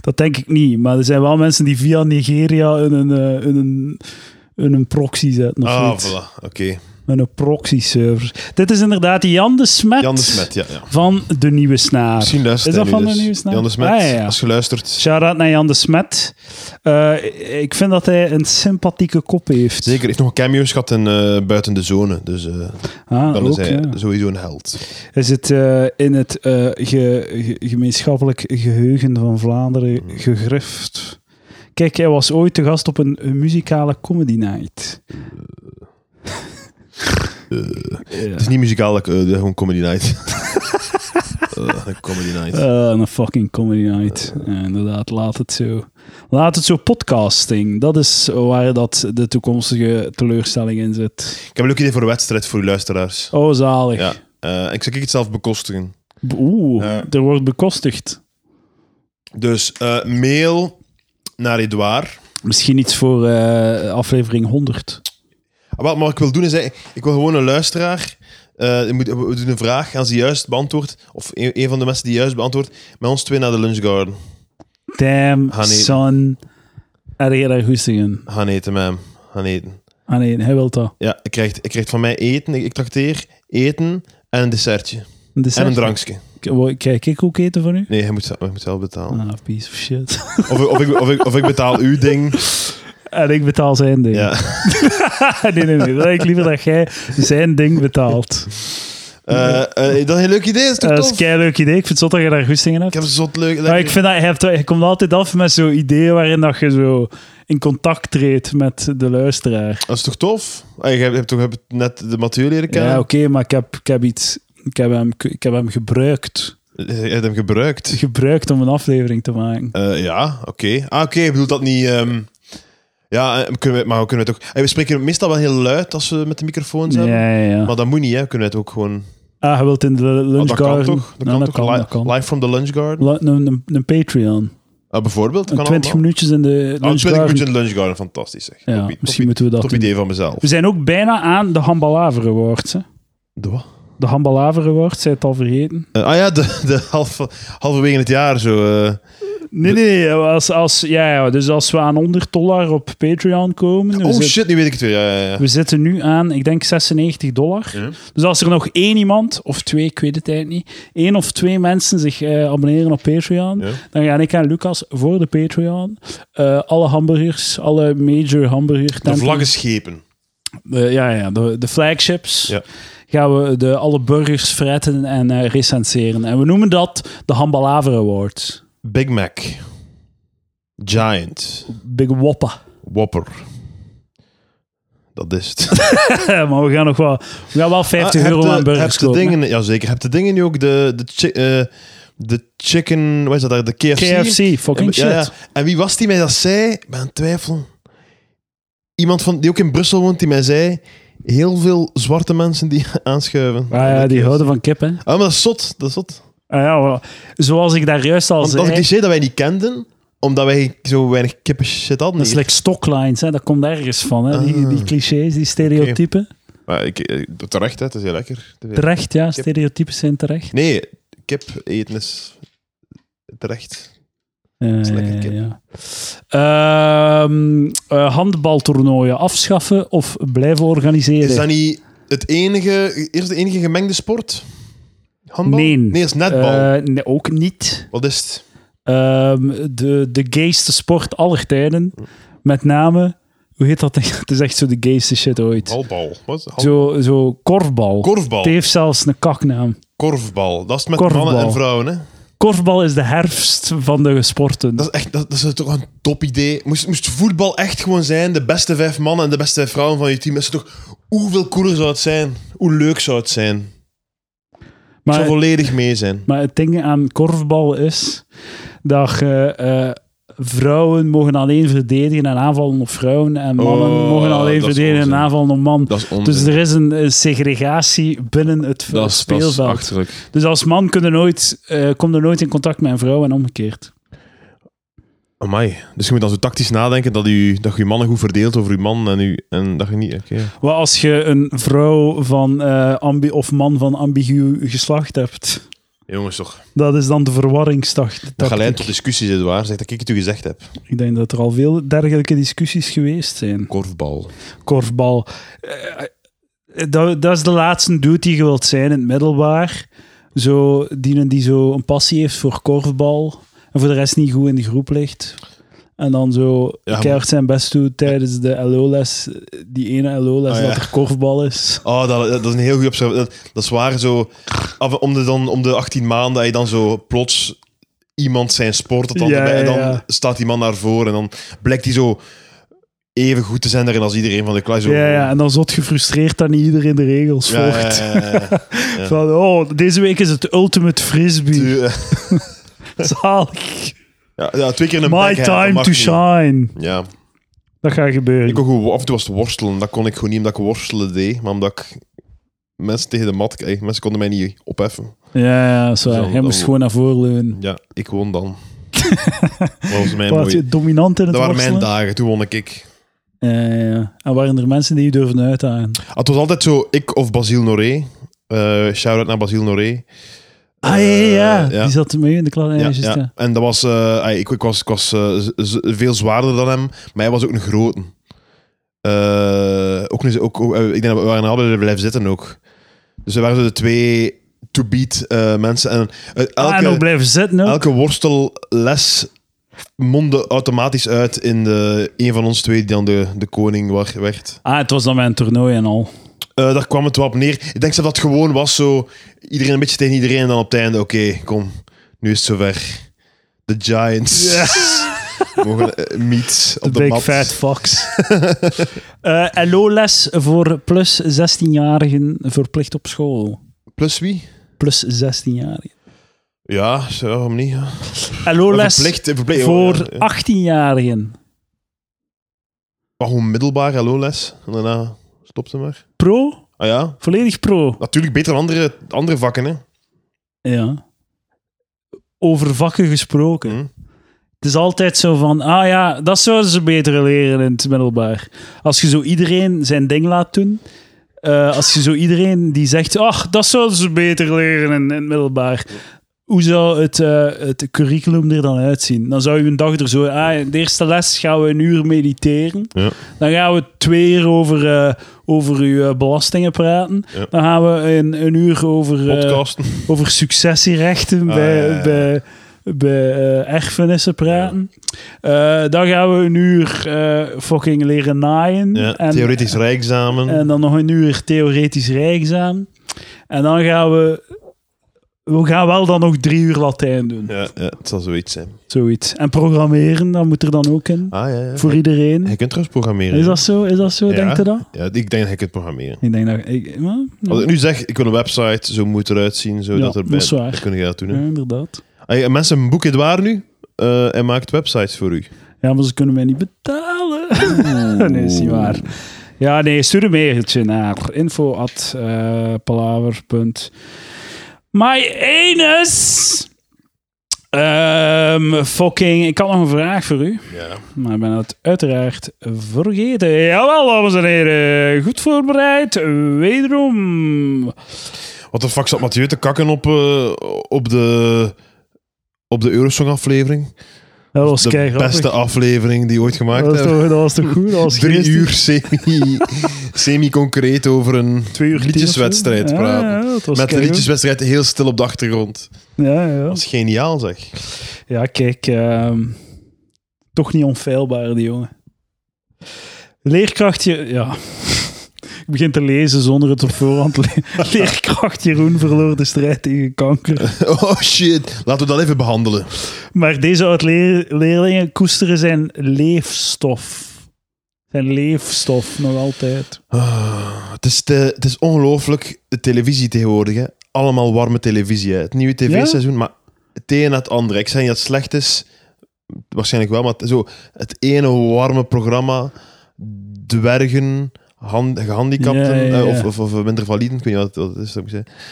Speaker 1: Dat denk ik niet, maar er zijn wel mensen die via Nigeria in een, eh, in een, in een proxy zetten. Of
Speaker 2: Ah,
Speaker 1: niet.
Speaker 2: voilà, oké.
Speaker 1: In een proxy-server. Dit is inderdaad Jan de Smet,
Speaker 2: Jan de Smet, ja. ja.
Speaker 1: van De Nieuwe Snaar.
Speaker 2: Misschien
Speaker 1: Is
Speaker 2: luistert hij
Speaker 1: dat
Speaker 2: nu
Speaker 1: van
Speaker 2: dus.
Speaker 1: de nieuwsnaam?
Speaker 2: Jan de Smet,
Speaker 1: Ah, ja, ja.
Speaker 2: als je luistert.
Speaker 1: Shout-out naar Jan de Smet. Eh, ik vind dat hij een sympathieke kop heeft.
Speaker 2: Zeker, hij heeft nog cameo's gehad in eh, Buiten de Zone, dus eh,
Speaker 1: Ah,
Speaker 2: dan
Speaker 1: ook,
Speaker 2: is hij
Speaker 1: ja.
Speaker 2: sowieso een held.
Speaker 1: Hij zit eh, in het eh, ge- ge- gemeenschappelijk geheugen van Vlaanderen
Speaker 2: Mm.
Speaker 1: gegrift. Kijk, hij was ooit te gast op een, een muzikale comedy night. Ja.
Speaker 2: Het is niet muzikaal, dat ik, eh, gewoon Comedy Night. Eh, een comedy Night.
Speaker 1: Eh, een fucking comedy night.
Speaker 2: Eh.
Speaker 1: Ja, inderdaad, laat het zo. Laat het zo podcasting. Dat is waar dat de toekomstige teleurstelling in zit.
Speaker 2: Ik heb een leuk idee voor een wedstrijd voor uw luisteraars.
Speaker 1: Oh, zalig.
Speaker 2: Ja. Eh, ik zal ik het zelf bekostigen.
Speaker 1: Oeh,
Speaker 2: Ja.
Speaker 1: er wordt bekostigd.
Speaker 2: Dus eh, mail naar Edouard.
Speaker 1: Misschien iets voor eh, aflevering 100.
Speaker 2: Ah, Wat maar ik wil doen is, eh, ik wil gewoon een luisteraar. eh, je moet- we doen een vraag, als die juist beantwoordt, of een, een van de mensen die juist beantwoordt, met ons twee naar de Lunch Garden
Speaker 1: Damn,
Speaker 2: Gaan eten.
Speaker 1: son. Er je daar goesting in.
Speaker 2: gaan eten met hem. Gaan eten.
Speaker 1: Ah nee, hij wil dat.
Speaker 2: Ja, ik krijg, ik krijg van mij eten, ik, ik trakteer eten en een dessertje.
Speaker 1: Een
Speaker 2: En
Speaker 1: dessert.
Speaker 2: een drankje.
Speaker 1: K- wo- Kijk ik ook eten van u?
Speaker 2: Nee, hij moet, zelf- hij moet zelf betalen.
Speaker 1: Ah, piece of shit.
Speaker 2: Of, ik- of, ik, of, ik, of ik betaal uw ding.
Speaker 1: En ik betaal zijn ding.
Speaker 2: Ja.
Speaker 1: nee, nee, nee. Dan heb ik liever dat jij zijn ding betaalt.
Speaker 2: Eh, eh, dat is een heel leuk idee, dat Eh, is toch
Speaker 1: dat is
Speaker 2: tof?
Speaker 1: een leuk idee. Ik vind het zot dat je daar goesting in
Speaker 2: Ik
Speaker 1: hebt.
Speaker 2: heb een zot leuk...
Speaker 1: Maar ik vind dat je, hebt, je komt altijd af met zo'n ideeën waarin dat je zo in contact treedt met de luisteraar.
Speaker 2: Dat is toch tof? Ah, je hebt, je hebt toch je hebt net de Mathieu leren kennen?
Speaker 1: Ja, oké, maar ik heb, ik heb iets... Ik heb, hem, ik heb hem gebruikt.
Speaker 2: Je hebt hem gebruikt.
Speaker 1: Gebruikt om een aflevering te maken.
Speaker 2: Eh, ja, oké. Ah, oké, ik bedoel dat niet... ehm, Ja, eh, kunnen we, maar we kunnen het ook... eh, we spreken meestal wel heel luid als we met de microfoons
Speaker 1: Ja,
Speaker 2: hebben.
Speaker 1: ja, ja.
Speaker 2: Maar dat moet niet, hè. We kunnen het ook gewoon...
Speaker 1: Ah, je wilt in de
Speaker 2: Ah,
Speaker 1: lunch
Speaker 2: dat kan
Speaker 1: garden.
Speaker 2: toch? Dat
Speaker 1: Ja,
Speaker 2: kan
Speaker 1: dat
Speaker 2: toch?
Speaker 1: kan,
Speaker 2: Li-
Speaker 1: dat kan.
Speaker 2: Live from the lunch garden?
Speaker 1: La- Een, een, een Patreon.
Speaker 2: Ah, bijvoorbeeld? Kan
Speaker 1: 20
Speaker 2: allemaal.
Speaker 1: minuutjes in de
Speaker 2: Ah, 20
Speaker 1: lunchgarden.
Speaker 2: minuten in Lunch Garden, fantastisch. Zeg.
Speaker 1: Ja,
Speaker 2: top, i-
Speaker 1: misschien
Speaker 2: top i-
Speaker 1: moeten we dat
Speaker 2: top
Speaker 1: doen.
Speaker 2: idee van mezelf.
Speaker 1: We zijn ook bijna aan de Hambalaver Awards. Hè.
Speaker 2: De wat?
Speaker 1: De Hambalaver Awards, zij het al vergeten?
Speaker 2: Eh, ah ja, de, de half, halverwege het jaar zo. eh.
Speaker 1: Nee, nee, als, als, ja, ja, dus als we aan 100 dollar op Patreon komen... we
Speaker 2: Oh
Speaker 1: zitten-
Speaker 2: shit, nu weet ik het weer. Ja, ja, ja.
Speaker 1: We zitten nu aan, ik denk 96 dollar.
Speaker 2: Ja.
Speaker 1: Dus als er nog één iemand, of twee, ik weet het eigenlijk niet, één of twee mensen zich eh, abonneren op Patreon,
Speaker 2: Ja.
Speaker 1: dan gaan ik en Lucas voor de Patreon eh, alle hamburgers, alle major hamburger
Speaker 2: De
Speaker 1: tempels-
Speaker 2: vlaggenschepen.
Speaker 1: de- ja, ja, de, de flagships,
Speaker 2: Ja.
Speaker 1: gaan we de, alle burgers fretten en eh, recenseren. En we noemen dat de Hambalaver Awards.
Speaker 2: Big Mac. Giant.
Speaker 1: Big Woppa.
Speaker 2: Whopper. Dat is het.
Speaker 1: maar we gaan nog wel, we gaan wel 50
Speaker 2: Ah, heb
Speaker 1: euro
Speaker 2: de-
Speaker 1: aan burgers
Speaker 2: heb de
Speaker 1: kopen. hè.
Speaker 2: dingen, Jazeker. Heb de dingen nu ook de, de, chi- eh, de chicken... Wat is dat daar? De KFC?
Speaker 1: KFC, fucking
Speaker 2: En- ja, ja.
Speaker 1: shit.
Speaker 2: En wie was die mij dat zei? Ik ben aan het twijfelen. Iemand van, die ook in Brussel woont, die mij zei... Heel veel zwarte mensen die aanschuiven.
Speaker 1: Ah ja, die houden van kip, hè.
Speaker 2: Ah, maar dat is zot. Dat is zot.
Speaker 1: Ah ja, wel. zoals ik daar juist al
Speaker 2: Want dat is
Speaker 1: zei,
Speaker 2: een cliché dat wij niet kenden, omdat wij zo weinig kippen shit hadden.
Speaker 1: dat is
Speaker 2: hier.
Speaker 1: like stocklines, hè? dat komt ergens van. Hè? Die,
Speaker 2: Ah.
Speaker 1: die clichés, die stereotypen.
Speaker 2: Maar ik, eh, terecht, hè. Het is heel lekker. Het is heel-
Speaker 1: Terecht, ja, stereotypen zijn terecht.
Speaker 2: Nee, kip eten is terecht.
Speaker 1: Ja,
Speaker 2: is lekker
Speaker 1: ja,
Speaker 2: kip.
Speaker 1: Eh, ja. Ehm, eh, handbaltoernooien afschaffen of blijven organiseren?
Speaker 2: Is dat niet het enige, eerst de enige gemengde sport? Handbal?
Speaker 1: Nee.
Speaker 2: Nee, is netbal.
Speaker 1: Eh, nee, ook niet.
Speaker 2: Wat is het?
Speaker 1: Ehm, de, de gayste sport aller tijden.
Speaker 2: Hm.
Speaker 1: Met name, hoe heet dat? Het is echt zo de gayste shit ooit.
Speaker 2: Balbal. Wat? Hand-
Speaker 1: Zo, zo korfbal.
Speaker 2: Korfbal.
Speaker 1: Het heeft zelfs een kaknaam.
Speaker 2: Korfbal. Dat is met
Speaker 1: Korfbal.
Speaker 2: mannen en vrouwen, hè?
Speaker 1: Korfbal is de herfst van de sporten.
Speaker 2: Dat is, echt, dat, dat is toch een top idee. Moest, moest voetbal echt gewoon zijn, de beste vijf mannen en de beste vijf vrouwen van je team, is het toch... Hoeveel cooler zou het zijn? Hoe leuk zou het zijn? Ik zou
Speaker 1: maar,
Speaker 2: volledig mee zijn.
Speaker 1: maar het ding aan korfbal is dat je, eh, vrouwen mogen alleen verdedigen en aanvallen op vrouwen en mannen
Speaker 2: Oh,
Speaker 1: mogen alleen
Speaker 2: dat is
Speaker 1: verdedigen en
Speaker 2: onzin.
Speaker 1: aanvallen op man.
Speaker 2: Dat is onzin.
Speaker 1: Dus er is een, eh, segregatie binnen het
Speaker 2: dat is, dat is
Speaker 1: speelveld.
Speaker 2: achterlijk.
Speaker 1: dus als man kun je nooit, eh, kom je nooit in contact met een vrouw en omgekeerd.
Speaker 2: Amai. Dus je moet dan zo tactisch nadenken dat je dat je, je mannen goed verdeelt over je man en, je, en dat je niet... Oké.
Speaker 1: Wat als je een vrouw van, eh, ambi- of man van ambigu geslacht hebt?
Speaker 2: Jongens toch,
Speaker 1: Dat is dan de verwarringstactiek.
Speaker 2: dat gaat leiden tot discussies, Edouard. Zeg dat ik het u gezegd heb.
Speaker 1: Ik denk dat er al veel dergelijke discussies geweest zijn.
Speaker 2: Korfbal.
Speaker 1: Korfbal. Eh, dat, dat is de laatste dude die je wilt zijn in het middelbaar. Zo, die, die zo een passie heeft voor korfbal en voor de rest niet goed in de groep ligt. En dan zo
Speaker 2: maar-
Speaker 1: keihard zijn best doet tijdens de LO-les. Die ene LO-les
Speaker 2: Ah, ja.
Speaker 1: dat er korfbal is.
Speaker 2: Oh, dat, dat is een heel goede observatie. Dat, dat is waar, zo... af- om, de, dan, om de 18 maanden dat je dan zo plots iemand zijn sport... dat Dan
Speaker 1: Ja,
Speaker 2: erbij- en dan
Speaker 1: ja, ja.
Speaker 2: staat die man daarvoor en dan blijkt hij zo even goed te zijn daarin als iedereen van de klas. Zo-
Speaker 1: Ja, ja, en dan zot gefrustreerd dat niet iedereen de regels
Speaker 2: Ja, ja,
Speaker 1: volgt.
Speaker 2: ja, ja, ja. ja.
Speaker 1: Van, oh, deze week is het ultimate frisbee.
Speaker 2: Tu-
Speaker 1: Zalig.
Speaker 2: Ja, ja, twee keer een
Speaker 1: My
Speaker 2: backhand, dat
Speaker 1: time
Speaker 2: mag
Speaker 1: to
Speaker 2: niet.
Speaker 1: shine.
Speaker 2: Ja.
Speaker 1: Dat gaat gebeuren.
Speaker 2: Ik ook goed, af en toe was het worstelen. Dat kon ik gewoon niet omdat ik worstelen deed, maar omdat ik mensen tegen de mat kreeg. Mensen konden mij niet opheffen.
Speaker 1: Ja, ja, dat is waar.
Speaker 2: Zo, oh.
Speaker 1: Hij
Speaker 2: dat
Speaker 1: moest
Speaker 2: wo-
Speaker 1: gewoon naar voren leunen.
Speaker 2: Ja, ik won dan. dat was mijn
Speaker 1: Was
Speaker 2: mooie...
Speaker 1: je dominant in het
Speaker 2: Dat waren mijn
Speaker 1: worstelen?
Speaker 2: dagen, toen won ik.
Speaker 1: Ja, ja, ja. En waren er mensen die je durven uitdagen?
Speaker 2: Ah, Het was altijd zo, ik of Basile Noré. Eh Shout-out naar Basile Noré.
Speaker 1: Ah, ja, ja, ja.
Speaker 2: Eh, ja.
Speaker 1: Die zat mee in de klas. Ja, juist, ja.
Speaker 2: En dat was, eh, ah, ik, ik was, ik was eh, z- z- veel zwaarder dan hem, maar hij was ook een grote. Eh, ook, een- ook, ook, eh, ik denk dat we waren allebei blijven zitten ook. Dus we waren zo de twee to-beat eh, mensen. En, eh,
Speaker 1: Ah, en
Speaker 2: elke,
Speaker 1: ook blijven zitten. ook.
Speaker 2: elke worstelles mondde automatisch uit in de, een van ons twee die dan de, de koning wa- werd.
Speaker 1: Ah, het was dan mijn toernooi en al.
Speaker 2: Eh, daar kwam het wel op neer. Ik denk zelf dat het gewoon was zo... Iedereen een beetje tegen iedereen en dan op het einde... Oké, kom. Nu is het zover. De Giants.
Speaker 1: Ja.
Speaker 2: Mogen eh, meet
Speaker 1: De
Speaker 2: op de,
Speaker 1: big
Speaker 2: mat.
Speaker 1: fat fox. Eh LO-les voor plus 16-jarigen verplicht op school.
Speaker 2: Plus wie?
Speaker 1: Plus 16-jarigen.
Speaker 2: Ja, zo, waarom niet? ja.
Speaker 1: LO-les
Speaker 2: Verplicht, eh, verplicht.
Speaker 1: voor
Speaker 2: ja, ja.
Speaker 1: 18-jarigen.
Speaker 2: Maar gewoon middelbaar LO-les. En daarna stopte maar.
Speaker 1: Pro?
Speaker 2: Ah ja,
Speaker 1: Volledig pro.
Speaker 2: natuurlijk beter dan andere, andere
Speaker 1: Eh,
Speaker 2: vakken. Hè.
Speaker 1: Ja. Over vakken gesproken.
Speaker 2: Hm.
Speaker 1: Het is altijd zo van, ah ja, dat zouden ze beter leren in het middelbaar. Als je zo iedereen zijn ding laat doen, eh, als je zo iedereen die zegt, ach, dat zouden ze beter leren in, in het middelbaar. Hoe zou het, eh, het curriculum er dan uitzien? Dan zou je een dag er zo, ah, in de eerste les gaan we een uur mediteren.
Speaker 2: Ja.
Speaker 1: Dan gaan we twee uur over, eh, over uw eh, belastingen praten.
Speaker 2: Ja.
Speaker 1: Dan gaan we een, een uur over... eh,
Speaker 2: Podcasten.
Speaker 1: over successierechten
Speaker 2: Ah,
Speaker 1: bij,
Speaker 2: ja, ja.
Speaker 1: bij, bij eh, erfenissen praten. Eh, dan gaan we een uur eh, fucking leren naaien.
Speaker 2: ja,
Speaker 1: en,
Speaker 2: theoretisch rijexamen.
Speaker 1: en dan nog een uur theoretisch rijexamen. En dan gaan we... We gaan wel dan nog drie uur Latijn doen.
Speaker 2: ja, ja, het zal zoiets zijn.
Speaker 1: Zoiets. En programmeren, dat moet er dan ook in.
Speaker 2: Ah, ja, ja.
Speaker 1: Voor iedereen.
Speaker 2: Hij kunt trouwens programmeren.
Speaker 1: Is dat zo? Is dat zo?
Speaker 2: Ja.
Speaker 1: Denkt u dat?
Speaker 2: Ja, ik denk dat hij kunt programmeren.
Speaker 1: Ik denk dat... Ik, ja,
Speaker 2: Als ik nu zeg, ik wil een website, zo moet het eruit zien, zo
Speaker 1: Ja,
Speaker 2: dat erbij,
Speaker 1: dat is waar.
Speaker 2: dan kun je dat doen.
Speaker 1: ja,
Speaker 2: hè.
Speaker 1: inderdaad.
Speaker 2: Hey, en mensen, boek het waar nu eh, en maakt websites voor u.
Speaker 1: Ja, maar ze kunnen mij niet betalen. nee, is niet waar. Ja, nee, stuur een mailtje naar info.palaver. My anus! Ehm, fucking, ik had nog een vraag voor u,
Speaker 2: Ja.
Speaker 1: maar ik ben het uiteraard vergeten. Jawel, dames en heren. Goed voorbereid, wederom.
Speaker 2: Wat de fuck zat Mathieu te kakken op, eh, op de, op de Eurosong-aflevering?
Speaker 1: Dat was
Speaker 2: de
Speaker 1: keigrappig.
Speaker 2: beste aflevering die ooit
Speaker 1: dat,
Speaker 2: gemaakt
Speaker 1: was
Speaker 2: hebben.
Speaker 1: toch, dat was toch goed? Dat was
Speaker 2: Drie
Speaker 1: geestig.
Speaker 2: uur semi- semi-concreet over een
Speaker 1: Twee uur tien of zo.
Speaker 2: liedjeswedstrijd
Speaker 1: Ja,
Speaker 2: praten.
Speaker 1: ja, dat was
Speaker 2: Met de
Speaker 1: keigoed.
Speaker 2: liedjeswedstrijd heel stil op de achtergrond.
Speaker 1: Ja, ja.
Speaker 2: Dat is geniaal, zeg.
Speaker 1: Ja, kijk, ehm, toch niet onfeilbaar, die jongen. Leerkracht, Je- ja. Ik begin te lezen zonder het op voorhand. Le- Leerkracht Jeroen verloor de strijd tegen kanker.
Speaker 2: Oh shit, laten we dat even behandelen.
Speaker 1: Maar deze oud-leerlingen koesteren zijn leefstof. Zijn leefstof nog altijd.
Speaker 2: Ah, het, is te- het is ongelooflijk, de televisie tegenwoordig. Hè. Allemaal warme televisie. Hè. Het nieuwe tv-seizoen, maar het een na het andere. Ik zeg niet dat het slecht is, waarschijnlijk wel, maar het- zo, het ene warme programma, dwergen, hand- gehandicapten,
Speaker 1: Ja, ja, ja.
Speaker 2: eh, of, of, of minder validen, ik weet niet wat het wat het is, dat moet ik zeggen.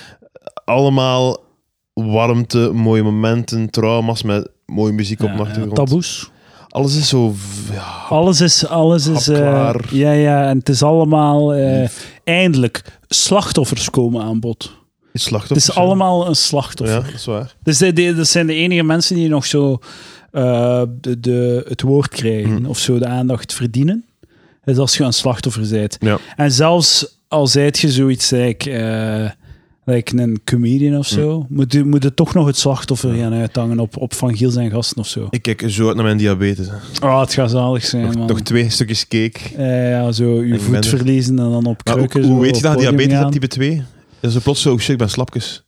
Speaker 2: Allemaal warmte, mooie momenten, trauma's met mooie muziek op de achtergrond.
Speaker 1: Taboes.
Speaker 2: Alles is zo... v- Ja,
Speaker 1: Alles is... Alles is eh,
Speaker 2: Hapklaar.
Speaker 1: ja, ja, en het is allemaal... eh, eindelijk, slachtoffers komen aan bod. Het
Speaker 2: slachtoffers.
Speaker 1: is allemaal een slachtoffer.
Speaker 2: Ja, dat is waar.
Speaker 1: Dus de- de- dat zijn de enige mensen die nog zo eh, de, de, het woord krijgen
Speaker 2: Mhm.
Speaker 1: of zo de aandacht verdienen. is als je een slachtoffer bent.
Speaker 2: Ja.
Speaker 1: En zelfs al zijt je zoiets like, eh, like een comedian of zo,
Speaker 2: Mhm.
Speaker 1: moet, je, moet je toch nog het slachtoffer gaan uithangen op, op Van Giel zijn gasten of zo.
Speaker 2: Ik kijk zo uit naar mijn diabetes. hè.
Speaker 1: Oh, het gaat zalig zijn,
Speaker 2: Nog,
Speaker 1: man.
Speaker 2: nog twee stukjes cake.
Speaker 1: Eh, ja, zo je
Speaker 2: ben
Speaker 1: voet
Speaker 2: er.
Speaker 1: verliezen en dan op
Speaker 2: Maar ook,
Speaker 1: krukken. zo
Speaker 2: hoe weet je
Speaker 1: op
Speaker 2: dat je
Speaker 1: podium
Speaker 2: diabetes
Speaker 1: gaan.
Speaker 2: hebt, type 2? Dat is plots zo, oh shit, ik ben slapjes.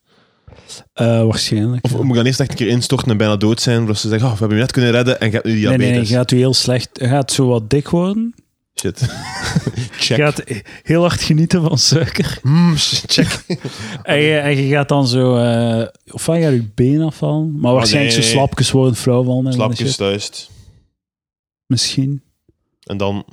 Speaker 1: Eh, waarschijnlijk.
Speaker 2: Of moet ik dan eerst echt een keer instorten en bijna dood zijn, voordat ze zeggen, oh, we hebben je net kunnen redden en je hebt nu
Speaker 1: nee,
Speaker 2: diabetes.
Speaker 1: nee, nee, je gaat u heel slecht. Je gaat zo wat dik worden.
Speaker 2: Shit.
Speaker 1: Je
Speaker 2: check.
Speaker 1: gaat heel hard genieten van suiker.
Speaker 2: Mm, shit, check.
Speaker 1: En je, en je gaat dan zo... eh, of van gaat je been afvallen. Maar waarschijnlijk
Speaker 2: Oh, nee,
Speaker 1: zo
Speaker 2: nee.
Speaker 1: slapjes worden flauw van. en
Speaker 2: Slapjes
Speaker 1: shit.
Speaker 2: thuis.
Speaker 1: Misschien.
Speaker 2: En dan,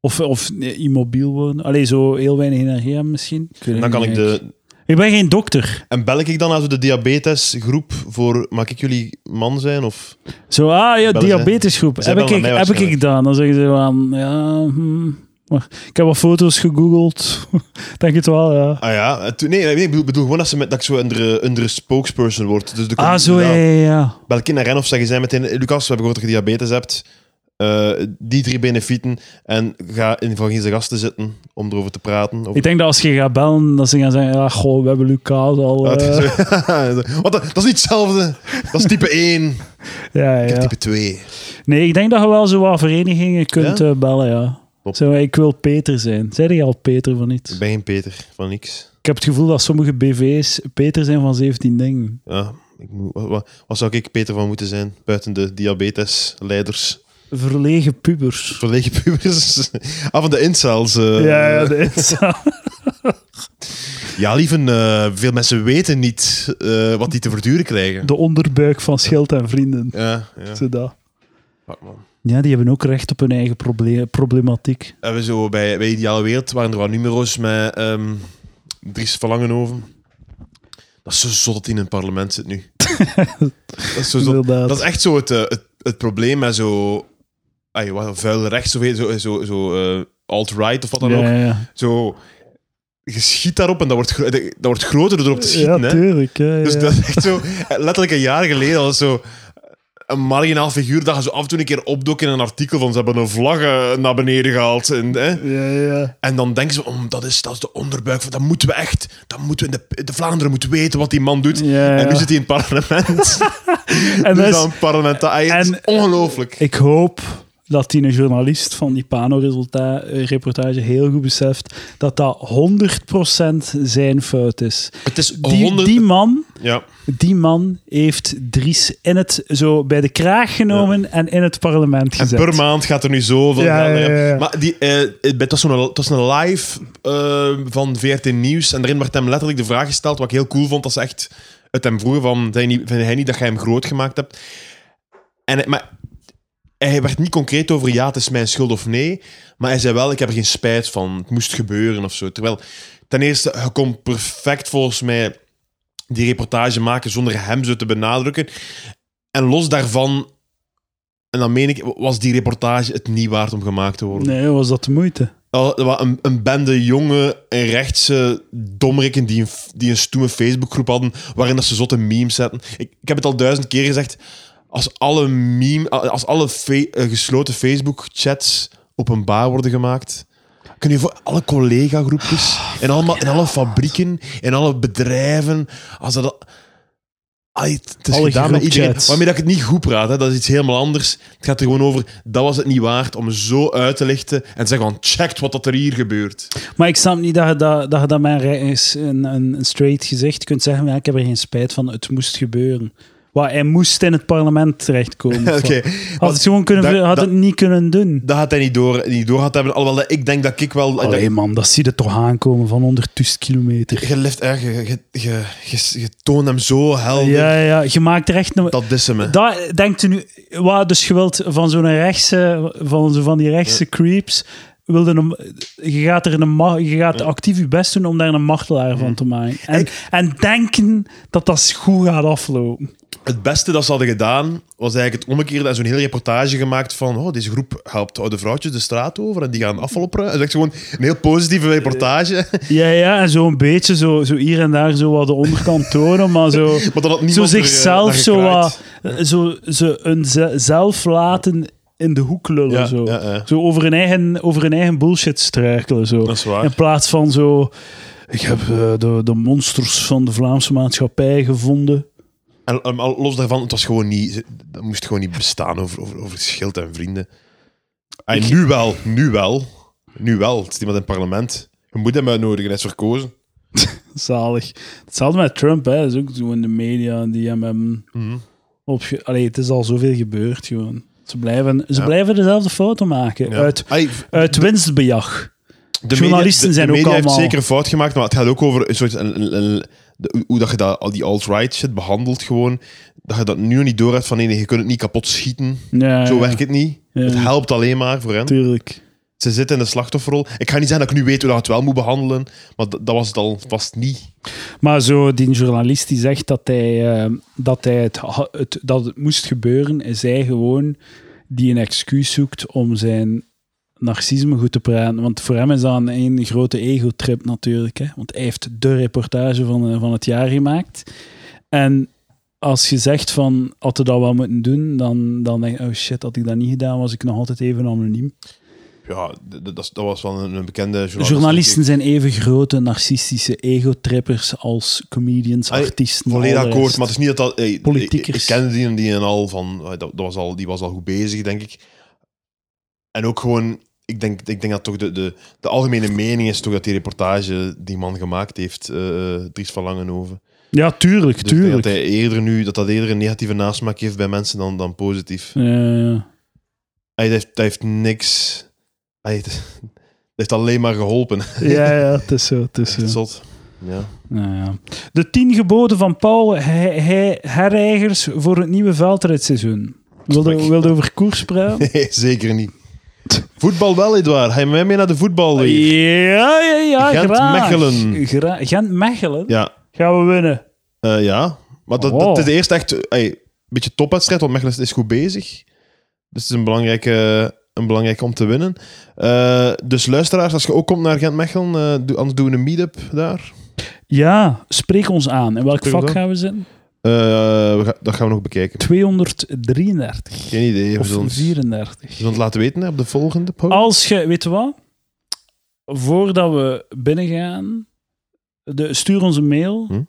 Speaker 1: Of, of nee, immobiel worden. Allee, zo heel weinig energie hebben misschien. Ik weet het
Speaker 2: dan kan
Speaker 1: niet
Speaker 2: ik
Speaker 1: eigenlijk.
Speaker 2: de...
Speaker 1: Ik ben geen dokter.
Speaker 2: En bel ik dan als we de diabetesgroep voor, mag ik jullie man zijn? Of
Speaker 1: Zo, ah ja,
Speaker 2: Bellen ze.
Speaker 1: diabetesgroep.
Speaker 2: Zij
Speaker 1: Heb ik,
Speaker 2: bellen mij
Speaker 1: heb ik
Speaker 2: waarschijnlijk.
Speaker 1: gedaan. Dan zeggen ze van... Ja, hm, maar ik heb wat foto's gegoogeld. Denk het wel, ja.
Speaker 2: Ah ja, eh, toen- nee, nee, ik bedoel, bedoel gewoon dat, ze met, dat ik zo onder, onder spokesperson word. Dus de
Speaker 1: Ah, zo, ja,
Speaker 2: ja.
Speaker 1: ja, ja.
Speaker 2: Bel ik in naar hen of zeggen zij meteen: Lucas, we hebben gehoord dat je diabetes hebt. Eh, die drie benefieten. En ga in van zijn gasten zitten om erover te praten. Over-
Speaker 1: Ik denk dat als je gaat bellen, dat ze gaan zeggen... Ja, goh, we hebben Lucas al...
Speaker 2: Ah,
Speaker 1: eh,
Speaker 2: het is- Want dat, dat is niet hetzelfde. Dat is type 1. Ik
Speaker 1: ja, ja.
Speaker 2: heb type 2.
Speaker 1: Nee, ik denk dat je wel zo wat verenigingen kunt
Speaker 2: Ja?
Speaker 1: eh, bellen, ja.
Speaker 2: Top.
Speaker 1: Zo, ik wil Peter zijn. Zei je al Peter van iets?
Speaker 2: Ik ben geen Peter van niks.
Speaker 1: Ik heb het gevoel dat sommige BV's Peter zijn van 17 dingen.
Speaker 2: Ja, ik moet, wa- wa- wat, zou ik Peter van moeten zijn? Buiten de diabetesleiders.
Speaker 1: Verlegen pubers.
Speaker 2: Verlegen pubers. Ah, van de incels. eh.
Speaker 1: ja, ja, dat is zo.
Speaker 2: Ja, lieven, eh, veel mensen weten niet eh, wat die te verduren krijgen.
Speaker 1: de onderbuik van Schild en Vrienden.
Speaker 2: Ja, ja.
Speaker 1: Zo dat.
Speaker 2: Fuck, man.
Speaker 1: Ja, die hebben ook recht op hun eigen proble- problematiek.
Speaker 2: hebben zo bij, bij Ideale Wereld waren er wat numero's met ehm Dries van Langenhoven. Dus Dat is zo zot dat hij in het parlement zit nu. dat, is zo zot.
Speaker 1: Inderdaad.
Speaker 2: dat is echt zo het, eh, het, het probleem met zo... Ay, wat, vuil rechts of iets, zo, zo, zo eh, alt-right of wat dan
Speaker 1: ja,
Speaker 2: ook.
Speaker 1: ja, ja.
Speaker 2: Zo, je schiet daarop en dat wordt, gro- dat wordt groter door op te schieten.
Speaker 1: ja,
Speaker 2: hè.
Speaker 1: tuurlijk. Ja,
Speaker 2: Dus
Speaker 1: ja.
Speaker 2: dat is echt zo... Letterlijk een jaar geleden was zo... Een marginaal figuur dat je zo af en toe een keer opdook in een artikel van ze hebben een vlag eh, naar beneden gehaald. En, hè.
Speaker 1: ja, ja.
Speaker 2: En dan denken ze, oh, dat, is, dat is de onderbuik. van- Dat moeten we echt. Dat moeten we in de, de Vlaanderen moeten weten wat die man doet.
Speaker 1: Ja,
Speaker 2: En nu
Speaker 1: ja.
Speaker 2: zit hij in het parlement.
Speaker 1: En dat
Speaker 2: dus
Speaker 1: is-
Speaker 2: dan parlementariër. Het is
Speaker 1: en-
Speaker 2: ongelooflijk.
Speaker 1: ik hoop dat die een journalist van die Pano-reportage heel goed beseft dat dat 100% zijn fout is.
Speaker 2: Het is
Speaker 1: Die,
Speaker 2: 100
Speaker 1: die man
Speaker 2: Ja,
Speaker 1: Die man heeft Dries in het, zo bij de kraag genomen en in het parlement
Speaker 2: en
Speaker 1: gezet.
Speaker 2: per maand gaat er nu zoveel
Speaker 1: Ja,
Speaker 2: gaan.
Speaker 1: ja, ja, ja.
Speaker 2: Maar die, eh, het, het was zo'n, het was een live eh, van VRT Nieuws. En daarin werd hem letterlijk de vraag gesteld, wat ik heel cool vond. Dat ze echt het hem vroegen van, vind je niet, vind jij niet dat jij hem groot gemaakt hebt? En, hij- maar hij werd niet concreet over ja, het is mijn schuld of nee. Maar hij zei wel, ik heb er geen spijt van. Het moest gebeuren of zo. Terwijl, ten eerste, je kon perfect volgens mij die reportage maken zonder hem zo te benadrukken. En los daarvan, en dan meen ik, was die reportage het niet waard om gemaakt te worden.
Speaker 1: Nee, was dat de moeite?
Speaker 2: Wel, er wa- Een, een bende jonge en rechtse domrikken die een, f- die een stoeme Facebookgroep hadden, waarin dat ze zotte memes zetten. Ik, ik heb het al duizend keer gezegd, als alle, meme, als alle fe- eh, gesloten Facebook-chats openbaar worden gemaakt, kun je voor alle collega-groepjes, en allemaal, in alle fabrieken, in alle bedrijven, als dat... al- Ai, het het is
Speaker 1: Alle
Speaker 2: gedaan met iedereen.
Speaker 1: groepchats.
Speaker 2: Waarmee dat ik het niet goed praat, hè? dat is iets helemaal anders. Het gaat er gewoon over, dat was het niet waard om zo uit te lichten en te zeggen van, checkt wat dat er hier gebeurt.
Speaker 1: Maar ik snap niet dat je dat, dat, je dat met een, re- eens een, een een straight gezicht kunt zeggen. maar Ja, ik heb er geen spijt van, het moest gebeuren. Wat, hij moest in het parlement terechtkomen. of
Speaker 2: Oké,
Speaker 1: wat? Had het gewoon kunnen,
Speaker 2: dat-
Speaker 1: ver- had
Speaker 2: dat-
Speaker 1: het niet kunnen doen.
Speaker 2: dat gaat hij niet door, niet door gehad hebben. Alhoewel, dat ik denk dat ik wel... Oh, dat-
Speaker 1: Allee man, dat zie je toch aankomen van 100.000 kilometer.
Speaker 2: Je lift erg, je, je, je, je- je toont hem zo helder.
Speaker 1: Ja, ja, ja, je maakt er echt een,
Speaker 2: Dat eh. is hem. hè.
Speaker 1: Dat denkt u nu, wat dus je wilt van zo'n rechtse, van, zo van die rechtse creeps, wilde een, je gaat, er een, ma- je gaat actief je best doen om daar een martelaar van te maken. En, en denken dat dat goed gaat aflopen.
Speaker 2: Het beste dat ze hadden gedaan, was eigenlijk het omgekeerde. En zo'n hele reportage gemaakt van, oh, deze groep helpt oude vrouwtjes de straat over en die gaan afval opruimen. Dat is echt gewoon een heel positieve reportage.
Speaker 1: Ja, ja, en zo'n beetje zo, zo hier en daar zo wat de onderkant tonen, maar zo,
Speaker 2: Maar dan had niemand
Speaker 1: zo
Speaker 2: er, eh,
Speaker 1: zichzelf
Speaker 2: naar
Speaker 1: zo
Speaker 2: gekraaid.
Speaker 1: wat, eh, zo, zo een ze- zelf laten in de hoek lullen.
Speaker 2: Ja,
Speaker 1: zo.
Speaker 2: ja, ja.
Speaker 1: zo over hun eigen, over hun eigen bullshit struikelen. Zo.
Speaker 2: Dat is waar.
Speaker 1: In plaats van zo. Ik heb eh, de, de monsters van de Vlaamse maatschappij gevonden.
Speaker 2: En, en al- los daarvan, het was gewoon niet, dat moest gewoon niet bestaan over, over, over schild en vrienden. En nu wel, nu wel. Nu wel. Het is iemand in het parlement. Je moet hem uitnodigen, hij is verkozen.
Speaker 1: Zalig. Hetzelfde met Trump, hè. Dat is ook zo in de media en die hem hebben
Speaker 2: Mhm.
Speaker 1: opge... Allee, het is al zoveel gebeurd, gewoon. Ze blijven, ze
Speaker 2: Ja.
Speaker 1: blijven dezelfde foto maken.
Speaker 2: Ja.
Speaker 1: Uit,
Speaker 2: Ai,
Speaker 1: uit winstbejag.
Speaker 2: de
Speaker 1: Journalisten
Speaker 2: media, de-
Speaker 1: zijn
Speaker 2: de
Speaker 1: ook
Speaker 2: media
Speaker 1: allemaal-
Speaker 2: heeft zeker een fout gemaakt, maar het gaat ook over een soort, een- een- een- de- hoe- hoe dat je dat, al die alt-right shit behandelt gewoon. Dat je dat nu niet door hebt van nee, nee, je kunt het niet kapot schieten.
Speaker 1: Ja,
Speaker 2: Zo
Speaker 1: ja,
Speaker 2: werkt het niet.
Speaker 1: Ja.
Speaker 2: Het helpt alleen maar voor hen.
Speaker 1: Tuurlijk.
Speaker 2: Ze zitten in de slachtofferrol. Ik ga niet zeggen dat ik nu weet hoe dat je het wel moet behandelen, maar dat, dat was het al vast niet.
Speaker 1: Maar zo, die journalist die zegt dat, hij, eh, dat, hij het, ha- het, dat het moest gebeuren, is hij gewoon die een excuus zoekt om zijn narcisme goed te praten. Want voor hem is dat een, één grote ego-trip natuurlijk. Hè? Want hij heeft de reportage van, eh, van het jaar gemaakt. En als je zegt van, had ik dat wel moeten doen, dan, dan denk ik, oh shit, had ik dat niet gedaan, was ik nog altijd even anoniem.
Speaker 2: Ja, d- d- dat, is- dat was wel een, een bekende journalist.
Speaker 1: Journalisten zijn even grote narcistische ego-trippers als comedians,
Speaker 2: Allee,
Speaker 1: artiesten.
Speaker 2: Volledig
Speaker 1: al de
Speaker 2: akkoord,
Speaker 1: rest.
Speaker 2: maar het is niet dat dat... Hey, ik,
Speaker 1: Politiekers.
Speaker 2: ik kende die en die en al van... eh, Dat, dat was al, die was al goed bezig, denk ik. En ook gewoon... Ik denk, ik denk dat toch de, de, de algemene mening is toch dat die reportage die man gemaakt heeft, eh Dries van Langenhoven.
Speaker 1: Ja, tuurlijk,
Speaker 2: Dus ik denk dat,
Speaker 1: tuurlijk.
Speaker 2: hij eerder nu, dat dat eerder een negatieve nasmaak heeft bij mensen dan, dan positief.
Speaker 1: Ja,
Speaker 2: Hij heeft, hij heeft niks... Hij heeft, hij heeft alleen maar geholpen.
Speaker 1: ja, ja, het is zo. Het is
Speaker 2: Echt
Speaker 1: zo.
Speaker 2: zot. Ja.
Speaker 1: Ja, ja. De tien geboden van Paul hij, hij, herijgers voor het nieuwe veldritseizoen. Wilde,
Speaker 2: Fuck.
Speaker 1: wilde over koers praten?
Speaker 2: Nee, zeker niet. Voetbal wel, Edouard. Ga je met mij mee naar de voetbal weer?
Speaker 1: Ja, ja, ja,
Speaker 2: Gent
Speaker 1: graag.
Speaker 2: Mechelen.
Speaker 1: Gra- Gent-Mechelen?
Speaker 2: Ja,
Speaker 1: Gaan we winnen?
Speaker 2: eh, ja. maar dat,
Speaker 1: Oh.
Speaker 2: dat is de eerste echt eh, ey, een beetje topwedstrijd, want Mechelen is goed bezig. Dus het is een belangrijke, een belangrijke om te winnen. Eh, dus luisteraars, als je ook komt naar Gent-Mechelen, eh, doe- anders doen we een meet-up daar.
Speaker 1: Ja, spreek ons aan. In welk
Speaker 2: Spreek
Speaker 1: vak
Speaker 2: ons aan.
Speaker 1: gaan we zitten?
Speaker 2: Eh, we ga- dat gaan we nog bekijken.
Speaker 1: 233
Speaker 2: Geen idee. We
Speaker 1: of
Speaker 2: zullen ons- we
Speaker 1: 34.
Speaker 2: zullen het laten weten hè, op de volgende post.
Speaker 1: Als je, weet je wat? Voordat we binnengaan, de, stuur ons een mail.
Speaker 2: Hm?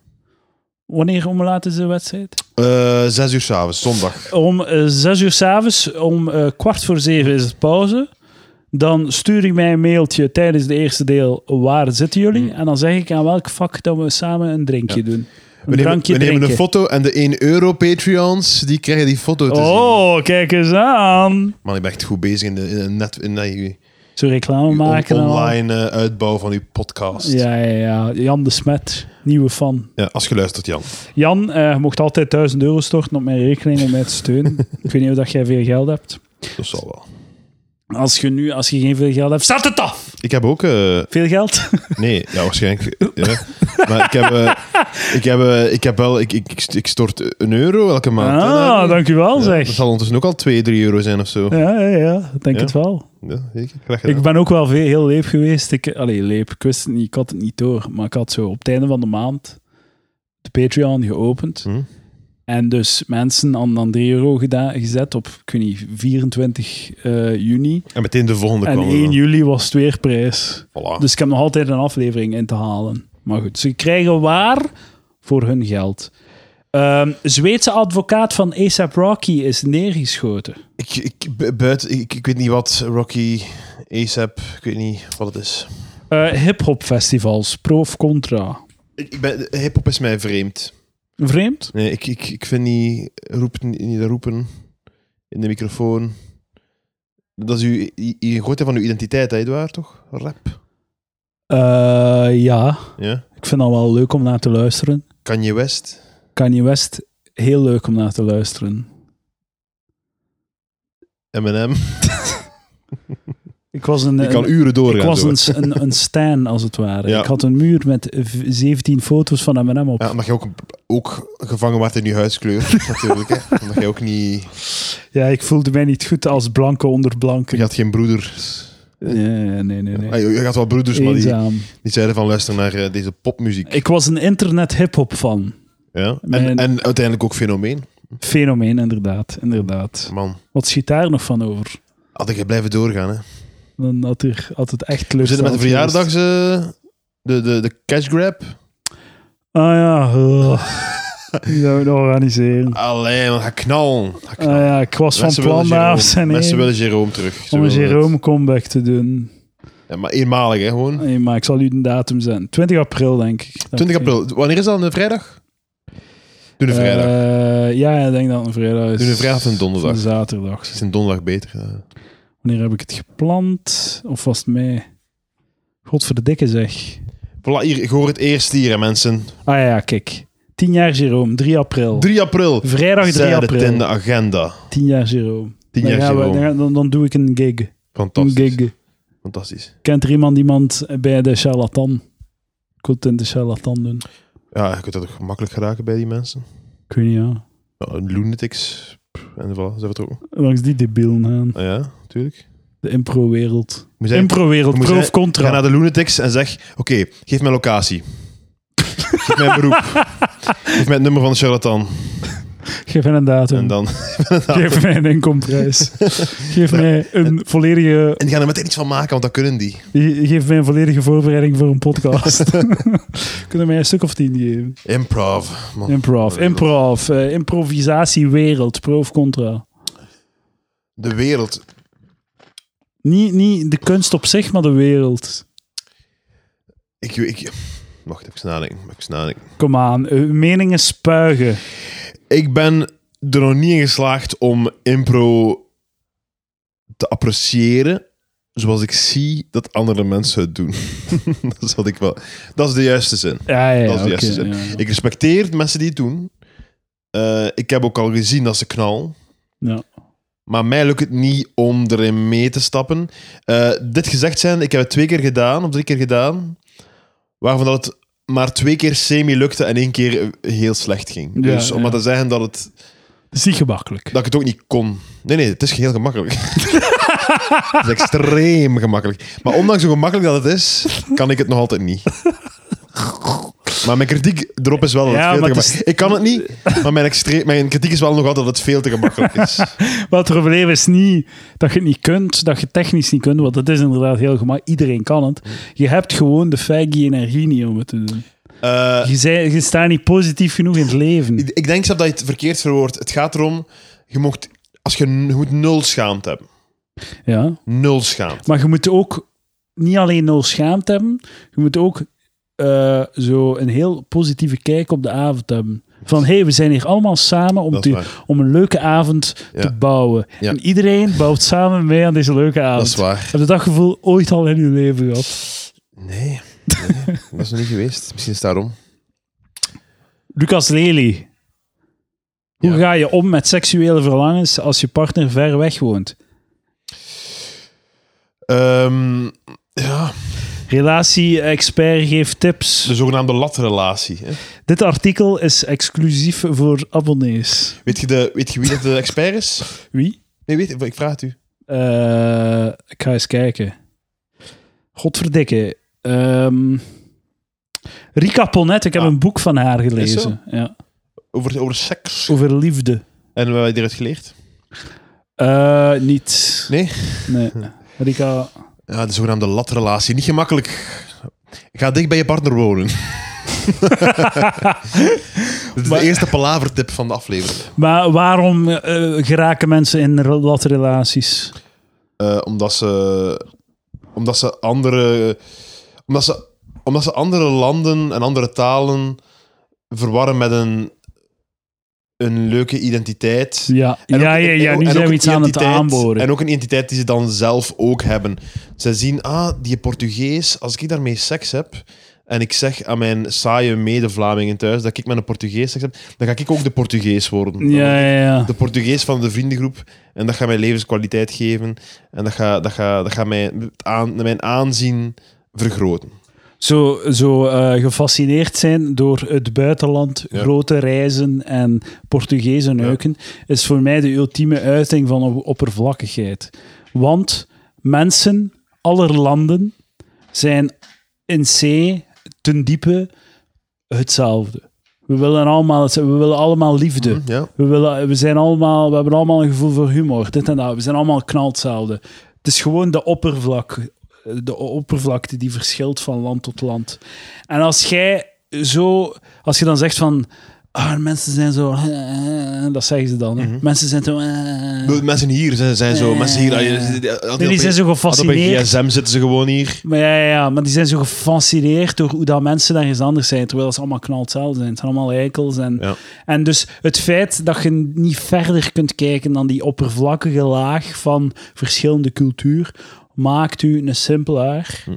Speaker 1: Wanneer om laat is de wedstrijd?
Speaker 2: Eh, zes uur s'avonds, zondag.
Speaker 1: Om eh, zes uur s'avonds, om eh, kwart voor zeven is het pauze. Dan stuur je mij een mailtje tijdens de eerste deel. Waar zitten jullie?
Speaker 2: Hm.
Speaker 1: En dan zeg ik aan welk vak dat we samen een drinkje doen. Een
Speaker 2: We nemen,
Speaker 1: drankje
Speaker 2: we nemen een
Speaker 1: drinken.
Speaker 2: foto en de 1 euro Patreons, die krijgen die foto te zien.
Speaker 1: Oh, kijk eens aan.
Speaker 2: Man, ik ben echt goed bezig in, de, in, net, in dat- uw-
Speaker 1: Zo reclame
Speaker 2: uw on-
Speaker 1: maken. en al.
Speaker 2: online eh, uitbouw van uw podcast.
Speaker 1: Ja, ja, ja. Jan de Smet, nieuwe fan.
Speaker 2: Ja, als je luistert, Jan.
Speaker 1: Jan, eh, je mocht altijd 1000 euro storten op mijn rekening om mij te steunen. Ik weet niet of dat jij veel geld hebt.
Speaker 2: Dat zal wel.
Speaker 1: Als je nu, als je geen veel geld hebt, staat het af!
Speaker 2: Ik heb ook... eh,
Speaker 1: Veel geld?
Speaker 2: Nee, ja, waarschijnlijk. ja. Maar ik heb, eh, ik heb, eh, ik heb wel, ik, ik, ik st- ik stort een euro elke maand. hè, daar.
Speaker 1: ah, dankjewel
Speaker 2: Ja,
Speaker 1: zeg.
Speaker 2: Dat zal ondertussen ook al 2, 3 euro zijn of zo. Ja,
Speaker 1: Ja, ja, ja, ik denk
Speaker 2: Ja.
Speaker 1: het wel.
Speaker 2: zeker. Graag gedaan.
Speaker 1: Ik ben ook wel veel, heel leep geweest. Ik, allee, leep, ik wist het niet, ik had het niet door. Maar ik had zo op het einde van de maand de Patreon geopend.
Speaker 2: Hm.
Speaker 1: En dus mensen aan dan 3 euro gedaan, gezet op, ik weet niet, 24 eh, juni.
Speaker 2: En meteen de volgende
Speaker 1: En
Speaker 2: kwam er
Speaker 1: 1
Speaker 2: dan.
Speaker 1: juli was het weer prijs.
Speaker 2: Voilà.
Speaker 1: Dus ik heb nog altijd een aflevering in te halen. Maar goed, ze krijgen waar voor hun geld. Ehm, Zweedse advocaat van ASAP Rocky is neergeschoten.
Speaker 2: Ik, ik, bu- buiten, ik, ik weet niet wat Rocky, ASAP, ik weet niet wat het is.
Speaker 1: Eh Hip-hop festivals, pro of contra.
Speaker 2: Ik, ik ben, hip-hop is mij vreemd.
Speaker 1: Vreemd?
Speaker 2: Nee, ik, ik, ik vind niet, roep, niet dat roepen in de microfoon. Dat is u, je, je gooit dat van uw identiteit, hè, Edouard, toch? Rap.
Speaker 1: Eh, ja,
Speaker 2: Ja.
Speaker 1: ik vind dat wel leuk om naar te luisteren.
Speaker 2: Kanye West.
Speaker 1: Kanye West, heel leuk om naar te luisteren.
Speaker 2: M&M.
Speaker 1: Ik was een,
Speaker 2: Je kan
Speaker 1: een-
Speaker 2: uren doorgaan.
Speaker 1: ik was
Speaker 2: zo.
Speaker 1: een, een, een stan, als het ware.
Speaker 2: Ja.
Speaker 1: Ik had een muur met v- 17 foto's van M&M op.
Speaker 2: Ja, omdat je ook, ook gevangen werd in je huidskleur, natuurlijk. Hè. Omdat je ook niet...
Speaker 1: Ja, ik voelde mij niet goed als blanke onder blanke.
Speaker 2: Je had geen broeders.
Speaker 1: Nee, nee, nee. nee.
Speaker 2: Ah, je- Je had wel broeders, maar die,
Speaker 1: Eenzaam.
Speaker 2: die zeiden van luister naar eh, deze popmuziek.
Speaker 1: Ik was een internet hip-hop fan.
Speaker 2: Ja?
Speaker 1: Mijn-
Speaker 2: En, en uiteindelijk ook fenomeen.
Speaker 1: Fenomeen, inderdaad. inderdaad.
Speaker 2: Man,
Speaker 1: Wat schiet daar nog van over?
Speaker 2: had ik blijven doorgaan. Hè.
Speaker 1: Dan had, er, had het echt leuk
Speaker 2: We zitten met de
Speaker 1: geweest.
Speaker 2: verjaardags... eh, de, de, de cash grab.
Speaker 1: Ah ja, ugh. die zouden we nog organiseren.
Speaker 2: Allee, man, ga knallen. Ga
Speaker 1: Ah
Speaker 2: knallen.
Speaker 1: ja, ik was van
Speaker 2: Mensen willen
Speaker 1: plan na
Speaker 2: Jerome.
Speaker 1: zijn
Speaker 2: Mensen
Speaker 1: heen
Speaker 2: willen Jerome terug. Ze
Speaker 1: om een
Speaker 2: willen het.
Speaker 1: Jerome comeback te doen.
Speaker 2: Ja, maar eenmalig, hè, gewoon.
Speaker 1: Nee, maar ik zal u de datum zijn. 20 april, denk ik. Dan
Speaker 2: 20
Speaker 1: moet ik-
Speaker 2: april. Wanneer is dat? Een vrijdag? Doe een vrijdag.
Speaker 1: Eh, ja, ik denk dat het een vrijdag is.
Speaker 2: Doe een vrijdag of een donderdag?
Speaker 1: Een zaterdag.
Speaker 2: Het is een donderdag beter. eh.
Speaker 1: Wanneer heb ik het gepland? Of was het mei? Godverdikke zeg.
Speaker 2: Voilà, hier, ik hoor het eerst hier, hè, mensen.
Speaker 1: Ah ja, kijk. 10 jaar Jerome, 3 april.
Speaker 2: 3 april.
Speaker 1: Vrijdag 3
Speaker 2: Zij het in de
Speaker 1: april.
Speaker 2: agenda.
Speaker 1: 10 jaar Jerome.
Speaker 2: 10
Speaker 1: Dan,
Speaker 2: jaar
Speaker 1: gaan we- dan,
Speaker 2: Jerome.
Speaker 1: gaan- dan, dan doe ik een gig. Een
Speaker 2: Fantastisch.
Speaker 1: gig.
Speaker 2: Fantastisch.
Speaker 1: Kent er iemand iemand bij de charlatan? Ik wil het in de charlatan doen.
Speaker 2: Ja, je kunt dat toch makkelijk geraken bij die mensen.
Speaker 1: Ik weet niet, ja.
Speaker 2: Ja, Lunatics. pff, En voilà, zijn we toch ook.
Speaker 1: Langs die debielen gaan.
Speaker 2: Ah, ja, natuurlijk.
Speaker 1: De impro-wereld.
Speaker 2: Moet zeggen,
Speaker 1: Impro-wereld,
Speaker 2: moet
Speaker 1: pro
Speaker 2: jij-
Speaker 1: of
Speaker 2: ga
Speaker 1: contra.
Speaker 2: naar de Lunatics en zeg, oké, geef mij locatie. geef mij een beroep. Geef mij het nummer van de charlatan.
Speaker 1: Geef hen een datum.
Speaker 2: En dan...
Speaker 1: Geef mij een inkomprijs. Geef mij een volledige
Speaker 2: En die gaan er meteen iets van maken, want dat kunnen die.
Speaker 1: Je geeft mij een volledige voorbereiding voor een podcast. Kunnen mij een stuk of tien geven.
Speaker 2: Improv. Man.
Speaker 1: Improv, improv, eh, improvisatiewereld, pro of contra.
Speaker 2: De wereld.
Speaker 1: Niet, niet de kunst op zich, maar de wereld.
Speaker 2: Ik, ik... Wacht, even nadenken. Even nadenken.
Speaker 1: Kom aan, eh, meningen spuigen.
Speaker 2: Ik ben er nog niet in geslaagd om impro te appreciëren zoals ik zie dat andere mensen het doen. dat is wat ik wel. Dat is de juiste zin.
Speaker 1: Ja, ja,
Speaker 2: Dat is de
Speaker 1: oké,
Speaker 2: juiste zin.
Speaker 1: ja.
Speaker 2: Ik respecteer de mensen die het doen. Eh, ik heb ook al gezien dat ze knallen.
Speaker 1: Ja.
Speaker 2: Maar mij lukt het niet om erin mee te stappen. Eh, dit gezegd zijn, ik heb het twee keer gedaan, of drie keer gedaan, waarvan dat het maar twee keer semi lukte en één keer eh, heel slecht ging.
Speaker 1: Ja,
Speaker 2: dus om
Speaker 1: ja.
Speaker 2: maar te zeggen dat het...
Speaker 1: Het is niet gemakkelijk.
Speaker 2: Dat ik het ook niet kon. Nee, nee, het is heel gemakkelijk. het is extreem gemakkelijk. Maar ondanks hoe gemakkelijk dat het is, kan ik het nog altijd niet. Maar mijn kritiek erop is wel dat
Speaker 1: Ja,
Speaker 2: het veel
Speaker 1: maar
Speaker 2: te
Speaker 1: het is-
Speaker 2: gemakkelijk Ik kan het niet, maar mijn, extre- mijn kritiek is wel nog altijd dat het veel te gemakkelijk is.
Speaker 1: Maar het probleem is niet dat je het niet kunt, dat je het technisch niet kunt, want het is inderdaad heel gemakkelijk. Iedereen kan het. Je hebt gewoon de faggy energie niet om het te doen.
Speaker 2: Eh,
Speaker 1: Je, zei, je staat niet positief genoeg in het leven.
Speaker 2: ik, ik denk zelf dat je het verkeerd verwoordt. Het gaat erom, je mocht, als je, je moet nul schaamte hebben.
Speaker 1: Ja.
Speaker 2: Nul schaamte.
Speaker 1: Maar je moet ook niet alleen nul schaamte hebben, je moet ook eh, zo een heel positieve kijk op de avond hebben. Van hé, hey, we zijn hier allemaal samen om,
Speaker 2: Dat is
Speaker 1: te,
Speaker 2: waar.
Speaker 1: om een leuke avond
Speaker 2: Ja.
Speaker 1: te bouwen.
Speaker 2: Ja.
Speaker 1: En iedereen bouwt samen mee aan deze leuke avond.
Speaker 2: Dat is waar.
Speaker 1: Heb je dat gevoel ooit al in je leven gehad?
Speaker 2: Nee, nee, dat is nog niet geweest. Misschien is het daarom.
Speaker 1: Lucas Lely. Hoe
Speaker 2: Ja.
Speaker 1: ga je om met seksuele verlangens als je partner ver weg woont?
Speaker 2: Ehm, ja,
Speaker 1: Relatie-expert geeft tips.
Speaker 2: de zogenaamde latrelatie. Hè.
Speaker 1: Dit artikel is exclusief voor abonnees.
Speaker 2: Weet, je de, weet je wie dat de expert is?
Speaker 1: Wie?
Speaker 2: Nee, weet, ik vraag het u.
Speaker 1: Eh, ik ga eens kijken. Godverdikke. Ehm Rika Ponet, ik heb
Speaker 2: Ah.
Speaker 1: een boek van haar
Speaker 2: Is zo?
Speaker 1: gelezen. Ja.
Speaker 2: Over, over seks.
Speaker 1: Over liefde.
Speaker 2: En wat heb je eruit geleerd?
Speaker 1: Eh, niet.
Speaker 2: Nee? Hm.
Speaker 1: Nee. Rika.
Speaker 2: Ja, de zogenaamde latrelatie. Niet gemakkelijk. Ga dicht bij je partner wonen. Dit is
Speaker 1: Maar-
Speaker 2: de eerste palavertip van de aflevering.
Speaker 1: Maar waarom eh, geraken mensen in relaties?
Speaker 2: Eh, omdat ze... Omdat ze andere... Omdat ze, omdat ze andere landen en andere talen verwarren met een... Een leuke identiteit.
Speaker 1: Ja,
Speaker 2: En
Speaker 1: ja,
Speaker 2: ook-
Speaker 1: ja, ja,
Speaker 2: en-
Speaker 1: nu
Speaker 2: en
Speaker 1: zijn
Speaker 2: ook
Speaker 1: we
Speaker 2: een
Speaker 1: iets aan het
Speaker 2: identiteit-
Speaker 1: aanboren.
Speaker 2: En ook een identiteit die ze dan zelf ook hebben. Ze zien, ah, die Portugees, als ik daarmee seks heb en ik zeg aan mijn saaie mede-Vlamingen thuis dat ik met een Portugees seks heb, dan ga ik ook de Portugees worden. Dan
Speaker 1: ja,
Speaker 2: word ik
Speaker 1: ja, ja.
Speaker 2: De Portugees van de vriendengroep. En dat gaat mij levenskwaliteit geven. En dat gaat dat ga, dat ga mijn, aan, mijn aanzien vergroten.
Speaker 1: Zo, zo eh, gefascineerd zijn door het buitenland,
Speaker 2: Ja.
Speaker 1: grote reizen en Portugese neuken, is voor mij de ultieme uiting van op- oppervlakkigheid. Want mensen, aller landen, zijn in C ten diepe hetzelfde. We willen allemaal, hetze- we willen allemaal liefde.
Speaker 2: Ja.
Speaker 1: We, willen, we, zijn allemaal, we hebben allemaal een gevoel voor humor, dit en dat. We zijn allemaal knal hetzelfde. Het is gewoon de, oppervlak, de oppervlakte die verschilt van land tot land. En als jij zo, als je dan zegt van. Ah, mensen zijn zo. Dat zeggen ze dan. hè. Mensen zijn zo. eh,
Speaker 2: De Mensen hier zijn, zijn zo. Mensen hier.
Speaker 1: Nee, die zijn zo
Speaker 2: Op een
Speaker 1: gefascineerd.
Speaker 2: gsm zitten ze gewoon hier.
Speaker 1: Maar ja, ja, ja, maar die zijn zo gefascineerd door hoe dat mensen daar eens anders zijn. Terwijl ze allemaal knal hetzelfde zijn. Het zijn allemaal eikels. En,
Speaker 2: Ja.
Speaker 1: en dus het feit dat je niet verder kunt kijken dan die oppervlakkige laag van verschillende cultuur, maakt u een simpelaar
Speaker 2: Hm.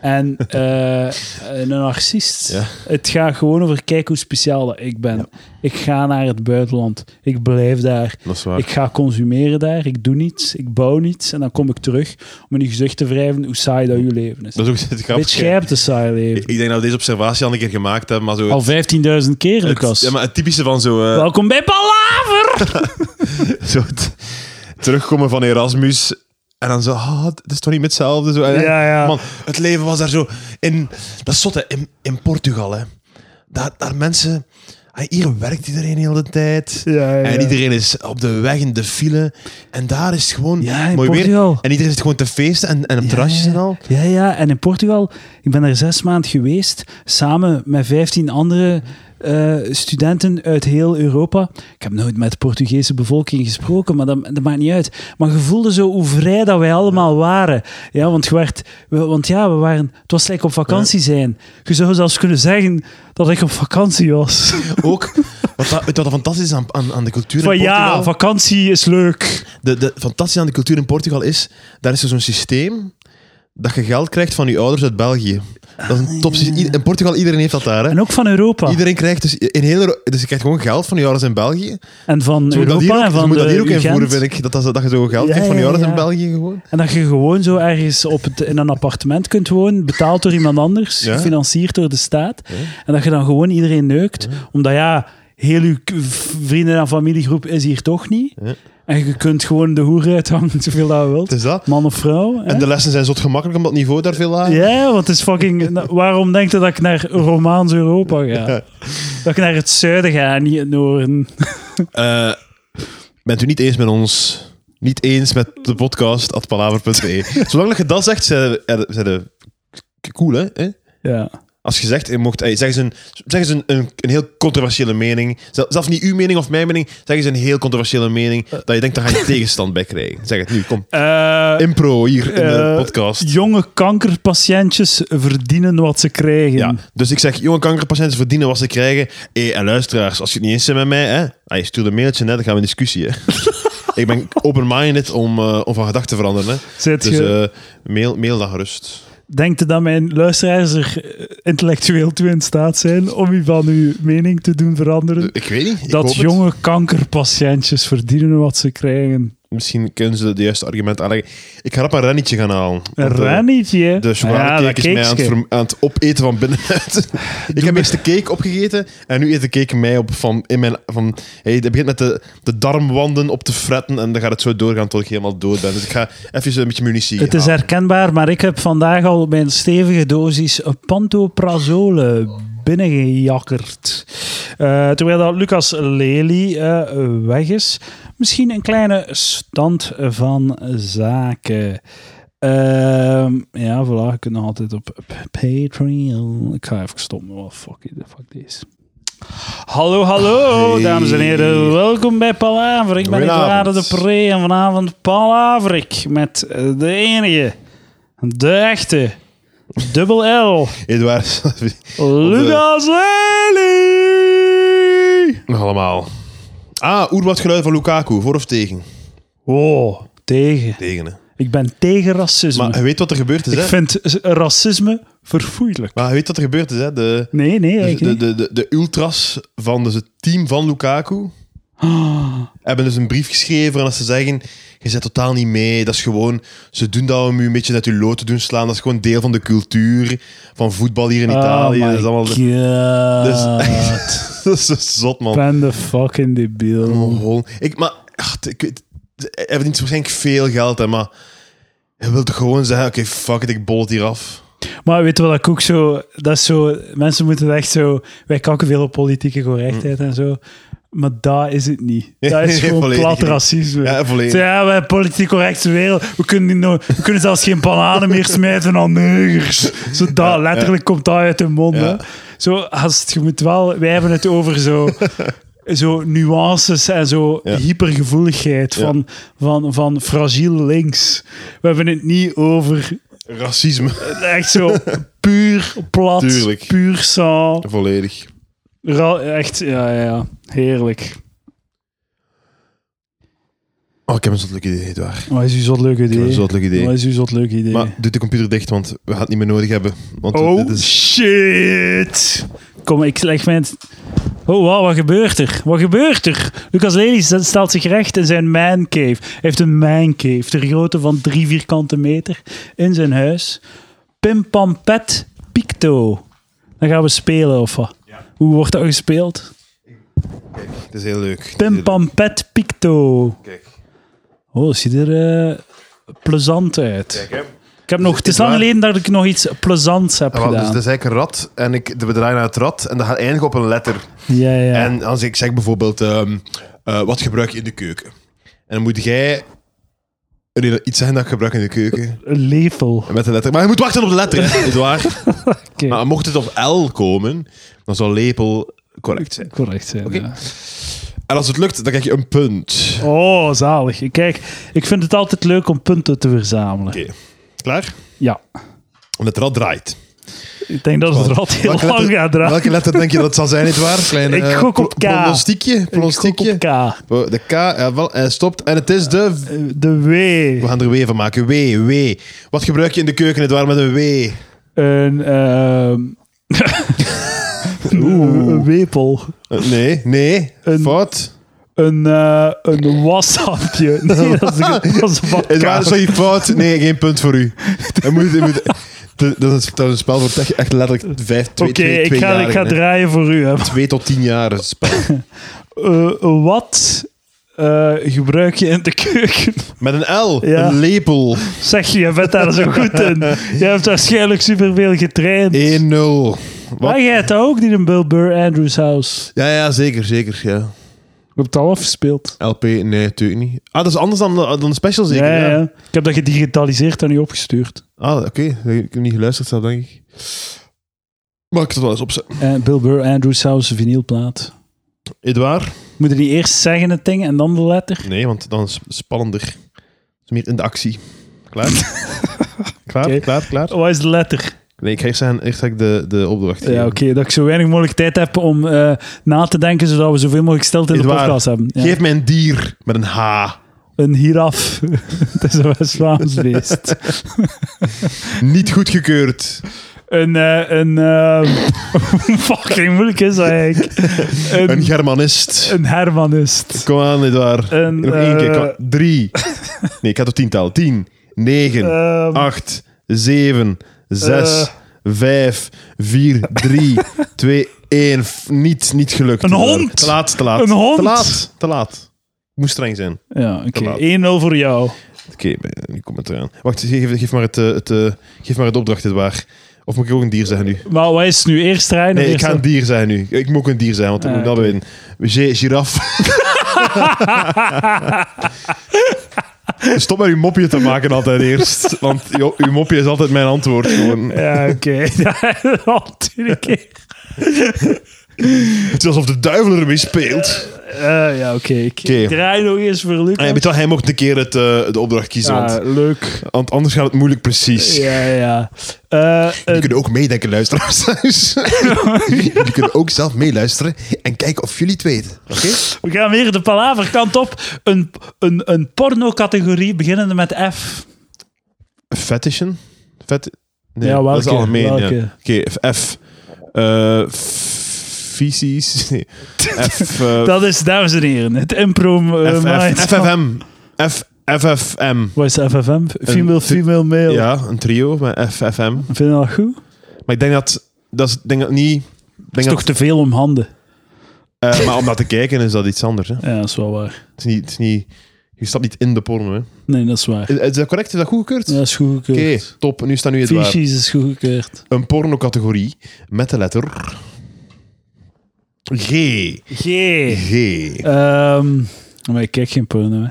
Speaker 1: en eh, een narcist.
Speaker 2: Ja.
Speaker 1: Het gaat gewoon over kijk hoe speciaal dat ik ben. Ik ga naar het buitenland. Ik blijf daar.
Speaker 2: Dat is waar.
Speaker 1: Ik ga consumeren daar. Ik doe niets. Ik bouw niets. En dan kom ik terug om in uw gezicht te wrijven hoe saai dat uw leven is.
Speaker 2: Dat is ook het
Speaker 1: Weet
Speaker 2: grappige.
Speaker 1: jij hebt een saai
Speaker 2: Ik
Speaker 1: leven.
Speaker 2: ik denk dat we deze observatie al een keer gemaakt hebben, maar zo...
Speaker 1: Al 15.000 keer,
Speaker 2: het,
Speaker 1: Lucas.
Speaker 2: ja, maar het typische van zo, eh,
Speaker 1: Welkom bij Palaver!
Speaker 2: zo het terugkomen van Erasmus en dan zo, ah, het is toch niet meer hetzelfde? Zo, En-
Speaker 1: Ja, ja.
Speaker 2: Man, het leven was daar zo... In, dat is zot, hè, in, in Portugal, hè. Daar, daar mensen... ah, Hier werkt iedereen heel de tijd.
Speaker 1: Ja, ja,
Speaker 2: En
Speaker 1: ja.
Speaker 2: iedereen is op de weg in de file. En daar is het gewoon
Speaker 1: Ja, in
Speaker 2: mooi
Speaker 1: Portugal.
Speaker 2: weer. En iedereen zit gewoon te feesten en, en op
Speaker 1: Ja,
Speaker 2: terrasjes
Speaker 1: ja.
Speaker 2: en al.
Speaker 1: Ja, ja. En in Portugal, ik ben er zes maanden geweest, samen met vijftien andere eh, studenten uit heel Europa. Ik heb nooit met de Portugese bevolking gesproken, maar dat, dat maakt niet uit. Maar je voelde zo hoe vrij dat wij allemaal waren. Ja, want, je werd, we- want ja, we waren, het was lekker op vakantie zijn. Je zou zelfs kunnen zeggen dat ik op vakantie was.
Speaker 2: Ook, wat, dat- wat dat fantastisch is aan, aan, aan de cultuur
Speaker 1: Van
Speaker 2: in Portugal...
Speaker 1: ja, vakantie is leuk.
Speaker 2: de, de fantastische aan de cultuur in Portugal is, daar is er zo'n systeem dat je geld krijgt van je ouders uit België. Dat is een top systeem. In Portugal, iedereen heeft dat daar. Hè.
Speaker 1: Ah, En ook van Europa.
Speaker 2: Iedereen krijgt dus in heel Euro- dus je krijgt gewoon geld van je ouders in België.
Speaker 1: En van
Speaker 2: Ze moeten dat hier
Speaker 1: Europa
Speaker 2: ook,
Speaker 1: en
Speaker 2: ze
Speaker 1: van
Speaker 2: moeten dat
Speaker 1: de
Speaker 2: hier ook
Speaker 1: UGent.
Speaker 2: invoeren, vind ik. Dat, dat, dat je zo geld
Speaker 1: Ja,
Speaker 2: krijgt van je
Speaker 1: ja,
Speaker 2: ouders in
Speaker 1: ja.
Speaker 2: België gewoon.
Speaker 1: En dat je gewoon zo ergens op het, in een appartement kunt wonen, betaald door iemand anders,
Speaker 2: Ja.
Speaker 1: gefinancierd door de staat. En dat je dan gewoon iedereen neukt. Omdat ja, heel uw k- v- vrienden- en familiegroep is hier toch niet.
Speaker 2: Ja.
Speaker 1: En je kunt gewoon de hoer uithangen zoveel dat je
Speaker 2: Het
Speaker 1: wilt.
Speaker 2: is dat.
Speaker 1: Man of vrouw. hè.
Speaker 2: En de lessen zijn zo gemakkelijk omdat het niveau daar veel lager is.
Speaker 1: Ja, want het is fucking... na- Waarom denk je dat ik naar Romaans Europa ga? Dat ik naar het zuiden ga, niet het noorden.
Speaker 2: Eh, bent u niet eens met ons? Niet eens met de podcast at palaver.be. Zolang dat je dat zegt, zijn er- zijn de cool, hè? hè?
Speaker 1: Ja.
Speaker 2: Als je zegt, je mocht, ey, zeg eens, een, zeg eens een, een, een heel controversiële mening. Zel- Zelfs niet uw mening of mijn mening. Zeg eens een heel controversiële mening. Dat je denkt, daar ga je tegenstand bij krijgen. Zeg het nu, kom.
Speaker 1: Eh,
Speaker 2: Impro hier in de
Speaker 1: eh,
Speaker 2: podcast.
Speaker 1: jonge kankerpatiëntjes verdienen wat ze krijgen.
Speaker 2: Ja, dus ik zeg, jonge kankerpatiënten verdienen wat ze krijgen. Hé, en luisteraars, als je het niet eens bent met mij, hè, hey, stuur een mailtje, net, dan gaan we in discussie. Hè. ik ben open-minded om, eh, om van gedachten te veranderen. Hè.
Speaker 1: Zet
Speaker 2: Dus
Speaker 1: je,
Speaker 2: eh, mail, mail dat gerust.
Speaker 1: Denkt u dat mijn luisteraars er eh, intellectueel toe in staat zijn om u van uw mening te doen veranderen?
Speaker 2: Eh, Ik weet niet. ik hoop
Speaker 1: Dat
Speaker 2: het.
Speaker 1: jonge kankerpatiëntjes verdienen wat ze krijgen.
Speaker 2: Misschien kunnen ze de juiste argumenten aanleggen. Ik ga rap een rennetje gaan halen.
Speaker 1: Een
Speaker 2: Want, eh,
Speaker 1: rannetje. hè?
Speaker 2: De
Speaker 1: Ah, dat
Speaker 2: chocoladecake is mij aan het,
Speaker 1: keekske.
Speaker 2: verm- aan het opeten van binnenuit. ik heb eerst de cake opgegeten en nu eet de cake mij op. Van, in mijn, van, hey, het begint met de, de darmwanden op te fretten en dan gaat het zo doorgaan tot ik helemaal dood ben. Dus ik ga even een beetje munitie
Speaker 1: Het is
Speaker 2: halen.
Speaker 1: herkenbaar, maar ik heb vandaag al mijn stevige dosis pantoprazole binnengejakkerd. Eh, terwijl dat Lucas Lely eh, weg is. Misschien een kleine stand van zaken. Ehm, ja, voilà, je kunt nog altijd op Patreon. Ik ga even stoppen. Oh, fuck, it, fuck this. Hallo, hallo,
Speaker 2: Hey.
Speaker 1: dames en heren. Welkom bij Palaver. Ik ben
Speaker 2: Goedenavond.
Speaker 1: Eduardo de Pre en vanavond Palaverik met eh, de enige, de echte, dubbel L,
Speaker 2: Eduard,
Speaker 1: Lucas Lely.
Speaker 2: nog allemaal. Ah, oerwoudgeluid van Lukaku, voor of tegen?
Speaker 1: Wow, tegen.
Speaker 2: Tegen, hè.
Speaker 1: Ik ben tegen racisme.
Speaker 2: Maar eh, je weet wat er gebeurd is,
Speaker 1: ik
Speaker 2: hè?
Speaker 1: vind s- racisme verfoeilijk.
Speaker 2: Maar je weet wat er gebeurd is, hè? De,
Speaker 1: Nee, nee,
Speaker 2: de,
Speaker 1: ik
Speaker 2: de,
Speaker 1: niet.
Speaker 2: Dus de, de, de ultras van dus het team van Lukaku
Speaker 1: Ah,
Speaker 2: hebben dus een brief geschreven en als ze zeggen, je zit totaal niet mee, dat is gewoon, ze doen dat om u een beetje uit uw lood te doen slaan, dat is gewoon deel van de cultuur van voetbal hier in Italië.
Speaker 1: oh my
Speaker 2: dat is allemaal de- Dus-
Speaker 1: God.
Speaker 2: dat is zo zot,
Speaker 1: Ik
Speaker 2: man.
Speaker 1: ben de fucking
Speaker 2: Oh.
Speaker 1: debiel.
Speaker 2: Mongool. Ik, maar, ach, ik weet, hij verdient waarschijnlijk veel geld, hè, maar je wilt toch gewoon zeggen, oké, fuck it, ik bol het hier af.
Speaker 1: Maar weet je wat ik ook zo... Dat is zo... Mensen moeten echt zo... Wij kakken veel op politieke correctheid en zo. Maar dat is het niet. Dat is
Speaker 2: Nee,
Speaker 1: gewoon
Speaker 2: Mm. volledig
Speaker 1: plat
Speaker 2: niet.
Speaker 1: racisme.
Speaker 2: Ja, volledig.
Speaker 1: Zo, ja, wij politiek correcte wereld. We kunnen, niet no- we kunnen zelfs geen bananen meer smijten aan neugers. Zo dat, letterlijk komt dat uit hun mond.
Speaker 2: Ja.
Speaker 1: hè. Zo, als het, je moet wel... Wij hebben het over zo... Zo nuances en zo
Speaker 2: Ja.
Speaker 1: hypergevoeligheid
Speaker 2: Ja.
Speaker 1: van, van, van fragiel links. We hebben het niet over
Speaker 2: Racisme.
Speaker 1: Echt zo puur plat,
Speaker 2: Tuurlijk.
Speaker 1: puur saal.
Speaker 2: Volledig.
Speaker 1: Ra- echt, ja, ja, ja. Heerlijk.
Speaker 2: Oh, ik heb een zot leuk idee, Edouard.
Speaker 1: Wat is uw zot leuk
Speaker 2: Ik
Speaker 1: idee?
Speaker 2: heb een zot leuk idee.
Speaker 1: Wat is uw zot leuk idee?
Speaker 2: Maar doe de computer dicht, want we gaan het niet meer nodig hebben. Want
Speaker 1: oh,
Speaker 2: dit is
Speaker 1: shit! Kom, ik leg mijn... Oh, wauw, wat gebeurt er? Wat gebeurt er? Lucas Lely stelt zich recht in zijn man cave. Hij heeft een man cave, ter grootte van drie vierkante meter, in zijn huis. Pim Pam Pet Picto. Dan gaan we spelen, of wat? Hoe wordt dat gespeeld?
Speaker 2: Het is heel leuk.
Speaker 1: Pim pam pet picto.
Speaker 2: Kijk,
Speaker 1: Oh, ziet er eh, plezant uit.
Speaker 2: kijk hè.
Speaker 1: Ik heb nog, het is lang
Speaker 2: waar.
Speaker 1: geleden dat ik nog iets plezants heb
Speaker 2: Ah, wel, dus
Speaker 1: gedaan.
Speaker 2: dat is eigenlijk een rat en ik de bedraai naar het rat en dat gaat eindigen op een letter.
Speaker 1: Ja, ja.
Speaker 2: En als ik zeg bijvoorbeeld, ehm, eh, wat gebruik je in de keuken? En dan moet jij een- iets zeggen dat ik gebruik in de keuken.
Speaker 1: Een lepel.
Speaker 2: Met de letter. Maar je moet wachten op de letter, hè, Edouard.
Speaker 1: Oké,
Speaker 2: Maar mocht het op L komen, dan zal lepel correct zijn.
Speaker 1: correct zijn.
Speaker 2: Oké.
Speaker 1: ja.
Speaker 2: En als het lukt, dan krijg je een punt.
Speaker 1: Oh, zalig. Kijk, ik vind het altijd leuk om punten te verzamelen.
Speaker 2: Oké. Klaar?
Speaker 1: Ja,
Speaker 2: En het rad draait.
Speaker 1: ik denk dat het er altijd heel
Speaker 2: Welke
Speaker 1: lang
Speaker 2: letter-
Speaker 1: gaat draaien.
Speaker 2: Welke letter denk je dat het zal zijn, Edouard? Kleine,
Speaker 1: Ik gok op K.
Speaker 2: Pronostiekje?
Speaker 1: Ik gok
Speaker 2: pronostiekje?
Speaker 1: op K. Eh,
Speaker 2: Oh, De K, ja, wel, hij stopt. En het is de... V-
Speaker 1: De W.
Speaker 2: We gaan er W van maken. W, W. Wat gebruik je in de keuken, het waar met een W? Eh,
Speaker 1: Een, ehm een wepel.
Speaker 2: Eh, Nee, nee.
Speaker 1: Een-
Speaker 2: Fout.
Speaker 1: Een, eh een washandje. Nee, dat is, dat is een badkamer.
Speaker 2: Het waar, sorry, fout. Nee, geen punt voor u. Je moet, je moet, Dat is, dat is een spel voor echt, echt letterlijk vijf, twee,
Speaker 1: Oké,
Speaker 2: twee,
Speaker 1: ik ga, ik
Speaker 2: tweejarigen,
Speaker 1: ga
Speaker 2: hè.
Speaker 1: draaien voor u. Hè.
Speaker 2: Twee tot tien jaar is het spel.
Speaker 1: Eh, wat eh, gebruik je in de keuken?
Speaker 2: Met een L,
Speaker 1: Ja.
Speaker 2: een lepel, 1-0.
Speaker 1: Zeg, je bent daar zo goed in. Je hebt waarschijnlijk superveel getraind.
Speaker 2: Wat?
Speaker 1: Maar jij hebt dat ook niet in Bill Burr Andrews House.
Speaker 2: Ja, ja, zeker, zeker. Ja.
Speaker 1: Je hebt het al afgespeeld.
Speaker 2: LP, nee, natuurlijk niet. Ah, dat is anders dan, dan de special, zeker?
Speaker 1: ja, ja. Ik heb dat gedigitaliseerd en u opgestuurd.
Speaker 2: Ah, oké. Ik heb niet geluisterd, zelf, denk ik. Maar ik zal het wel eens opzetten.
Speaker 1: En Eh, Bill Burr Andrews House vinylplaat.
Speaker 2: Edouard?
Speaker 1: Moet je niet eerst zeggen het ding en dan de letter?
Speaker 2: Nee, want dan is het spannender. Het is meer in de actie. Klaar? klaar,
Speaker 1: Oké.
Speaker 2: klaar, klaar?
Speaker 1: Wat is de letter?
Speaker 2: Nee, ik ga eerst, zeggen, eerst ga ik de, de opdracht
Speaker 1: Ja,
Speaker 2: geven.
Speaker 1: oké. dat ik zo weinig mogelijk tijd heb om eh, na te denken, zodat we zoveel mogelijk stilte in de
Speaker 2: Edouard,
Speaker 1: podcast hebben. Ja.
Speaker 2: Geef mij een dier met een H.
Speaker 1: Een giraf. het is een West-Vlaams beest.
Speaker 2: Niet goedgekeurd.
Speaker 1: Een, eh, een eh, fucking moeilijk is dat eigenlijk. Een,
Speaker 2: Een
Speaker 1: een,
Speaker 2: germanist.
Speaker 1: hermanist.
Speaker 2: Kom aan, Edouard.
Speaker 1: Een,
Speaker 2: Nog één keer.
Speaker 1: eh,
Speaker 2: Kom- Drie. Nee, ik had tot tien tellen. Tien, negen,
Speaker 1: Ehm,
Speaker 2: 8, 7,
Speaker 1: Eh.
Speaker 2: 6, 5, 4, 3, 2, 1. Niet, niet gelukt. Eh,
Speaker 1: Een hond!
Speaker 2: Te laat, te laat.
Speaker 1: Een hond!
Speaker 2: Te laat, te laat. Ik moet streng zijn.
Speaker 1: ja, oké.
Speaker 2: te laat.
Speaker 1: 1-0 voor jou.
Speaker 2: Oké, eh, nu komt het eraan. Wacht, geef, geef, maar het, eh, het, eh, geef maar het opdracht, dit waar. Of moet ik ook een dier zeggen nu?
Speaker 1: Maar wat is het nu? Eerst rijden?
Speaker 2: Nee,
Speaker 1: of
Speaker 2: ik
Speaker 1: eerst
Speaker 2: ga een dier zeggen nu. Ik moet ook een dier zijn, want ik
Speaker 1: Ah,
Speaker 2: moet dat
Speaker 1: oké.
Speaker 2: weten. G- giraf. Stop met uw mopje te maken altijd eerst. Want joh, uw mopje is altijd mijn antwoord. Gewoon.
Speaker 1: Ja, oké. Ja, natuurlijk.
Speaker 2: Het is alsof de duivel ermee speelt.
Speaker 1: Eh, ja, oké. Ik
Speaker 2: Oké.
Speaker 1: ik draai nog eens voor Lucas.
Speaker 2: Ah, ja, weet je wel, hij mocht een keer het, eh, de opdracht kiezen,
Speaker 1: Ah,
Speaker 2: want,
Speaker 1: leuk.
Speaker 2: want anders gaat het moeilijk precies.
Speaker 1: Ja, ja. Eh,
Speaker 2: Jullie
Speaker 1: een-
Speaker 2: kunnen ook meedenken, luisteraars thuis. Jullie kunnen ook zelf meeluisteren en kijken of jullie het weten. Oké?
Speaker 1: we gaan weer de palaverkant op. Een, een, een porno-categorie beginnende met F.
Speaker 2: Fetishen? Vet... Nee,
Speaker 1: Ja,
Speaker 2: dat is
Speaker 1: welke?
Speaker 2: algemeen. ja.
Speaker 1: Welke?
Speaker 2: Oké, F. Eh, f- Feces. Nee. F. eh,
Speaker 1: Dat is, dames en heren, het impro... eh,
Speaker 2: F- F-
Speaker 1: mind-
Speaker 2: FFM. F. FFM.
Speaker 1: Wat is FFM? Female,
Speaker 2: Een-
Speaker 1: female, male.
Speaker 2: Ja, een trio met FFM.
Speaker 1: Vind je dat goed?
Speaker 2: Maar ik denk dat... Dat is, ik denk dat niet... ik
Speaker 1: Dat
Speaker 2: Denk
Speaker 1: is
Speaker 2: dat,
Speaker 1: toch te veel om handen?
Speaker 2: eh, maar om dat te kijken is dat iets anders. Hè.
Speaker 1: Ja, dat is wel waar.
Speaker 2: Het is niet, het is niet, je stapt niet in de porno. Hè.
Speaker 1: Nee, dat is waar.
Speaker 2: Is, is dat correct? Is dat goedgekeurd?
Speaker 1: Ja,
Speaker 2: Oké,
Speaker 1: dat is goedgekeurd.
Speaker 2: top. Nu staan nu het waar.
Speaker 1: Fichies is goedgekeurd.
Speaker 2: Een pornocategorie met de letter... G.
Speaker 1: G.
Speaker 2: G.
Speaker 1: Ehm, maar ik kijk geen porno, hè.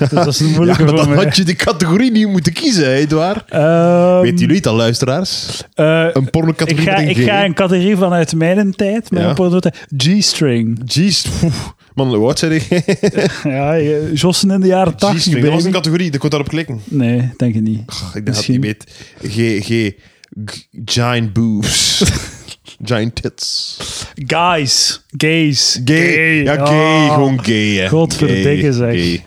Speaker 1: Dus dat is een
Speaker 2: Ja,
Speaker 1: moeilijke
Speaker 2: maar
Speaker 1: voor
Speaker 2: dan
Speaker 1: mij.
Speaker 2: had je de categorie niet moeten kiezen, hè, Edouard.
Speaker 1: Ehm,
Speaker 2: Weten jullie het al, luisteraars?
Speaker 1: eh,
Speaker 2: Een
Speaker 1: ik,
Speaker 2: pornocategorie
Speaker 1: ga,
Speaker 2: met een
Speaker 1: ik
Speaker 2: G.
Speaker 1: ga een categorie vanuit mijn tijd, mijn
Speaker 2: Ja.
Speaker 1: porno tijd. G-string.
Speaker 2: Jeez, poef. man, hoe oud zei je?
Speaker 1: Ja, eh, Jossen in de jaren tachtig,
Speaker 2: G-string, dat was een
Speaker 1: baby.
Speaker 2: categorie, ik kon daarop klikken.
Speaker 1: Nee, denk ik niet.
Speaker 2: Ach, ik denk dat ik niet weet. G, G, G- giant boobs. giant tits.
Speaker 1: Guys. Gays.
Speaker 2: Gay. Ja, gay,
Speaker 1: Ah,
Speaker 2: gewoon gay. Hè.
Speaker 1: Godverdikke,
Speaker 2: Gay,
Speaker 1: zeg.
Speaker 2: gay.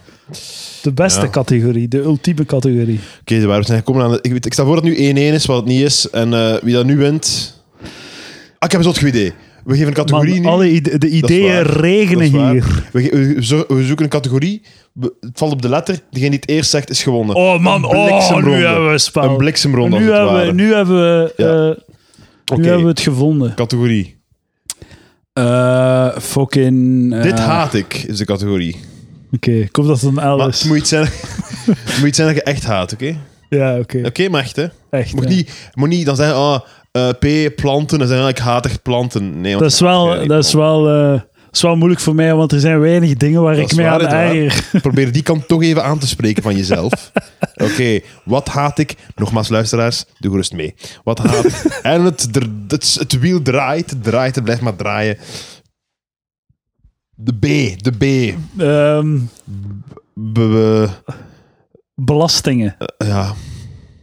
Speaker 1: De beste
Speaker 2: Ja.
Speaker 1: categorie, de ultieme categorie.
Speaker 2: Oké, waar we zijn gekomen aan... de- Ik, weet- ik sta voor dat het nu 1-1 is, wat het niet is. En eh, wie dat nu wint... Ah, ik heb een zot goed idee. We geven een categorie
Speaker 1: Man,
Speaker 2: nu.
Speaker 1: alle ide- de ideeën
Speaker 2: waar.
Speaker 1: regenen
Speaker 2: Dat is waar.
Speaker 1: hier.
Speaker 2: We, ge- we zo- we zoeken een categorie. We- het valt op de letter. Degene die het eerst zegt, is gewonnen.
Speaker 1: Oh man, oh,
Speaker 2: bliksemronde.
Speaker 1: nu hebben we een spel.
Speaker 2: Een bliksemronde,
Speaker 1: nu,
Speaker 2: als het
Speaker 1: hebben, we-
Speaker 2: ware.
Speaker 1: nu, hebben we, eh,
Speaker 2: Ja.
Speaker 1: nu
Speaker 2: Oké,
Speaker 1: hebben we het gevonden.
Speaker 2: categorie.
Speaker 1: Eh fucking... eh,
Speaker 2: Dit haat ik, is de categorie.
Speaker 1: Oké, ik hoop dat het een L
Speaker 2: Maar
Speaker 1: is.
Speaker 2: het moet iets zijn, het moet iets zijn dat je echt haat, oké?
Speaker 1: Ja, oké.
Speaker 2: Oké, maar echt, hè?
Speaker 1: Echt.
Speaker 2: Moet
Speaker 1: ja.
Speaker 2: niet, moet niet dan zeggen, ah, eh, P, planten, en zeggen, ah, ik haat echt planten. Nee, want
Speaker 1: Dat is wel,
Speaker 2: Ja, die
Speaker 1: dat is wel, eh, dat is wel moeilijk voor mij, want er zijn weinig dingen waar
Speaker 2: Dat
Speaker 1: ik
Speaker 2: is
Speaker 1: mee
Speaker 2: waar,
Speaker 1: aan
Speaker 2: inderdaad.
Speaker 1: eier.
Speaker 2: Probeer die kant toch even aan te spreken van jezelf. Oké, wat haat ik? Nogmaals, luisteraars, doe gerust mee. Wat haat ik? En het, dr- het, het wiel draait, het draait, het blijft maar draaien. De B, de B.
Speaker 1: Ehm,
Speaker 2: B- b-
Speaker 1: belastingen.
Speaker 2: ja,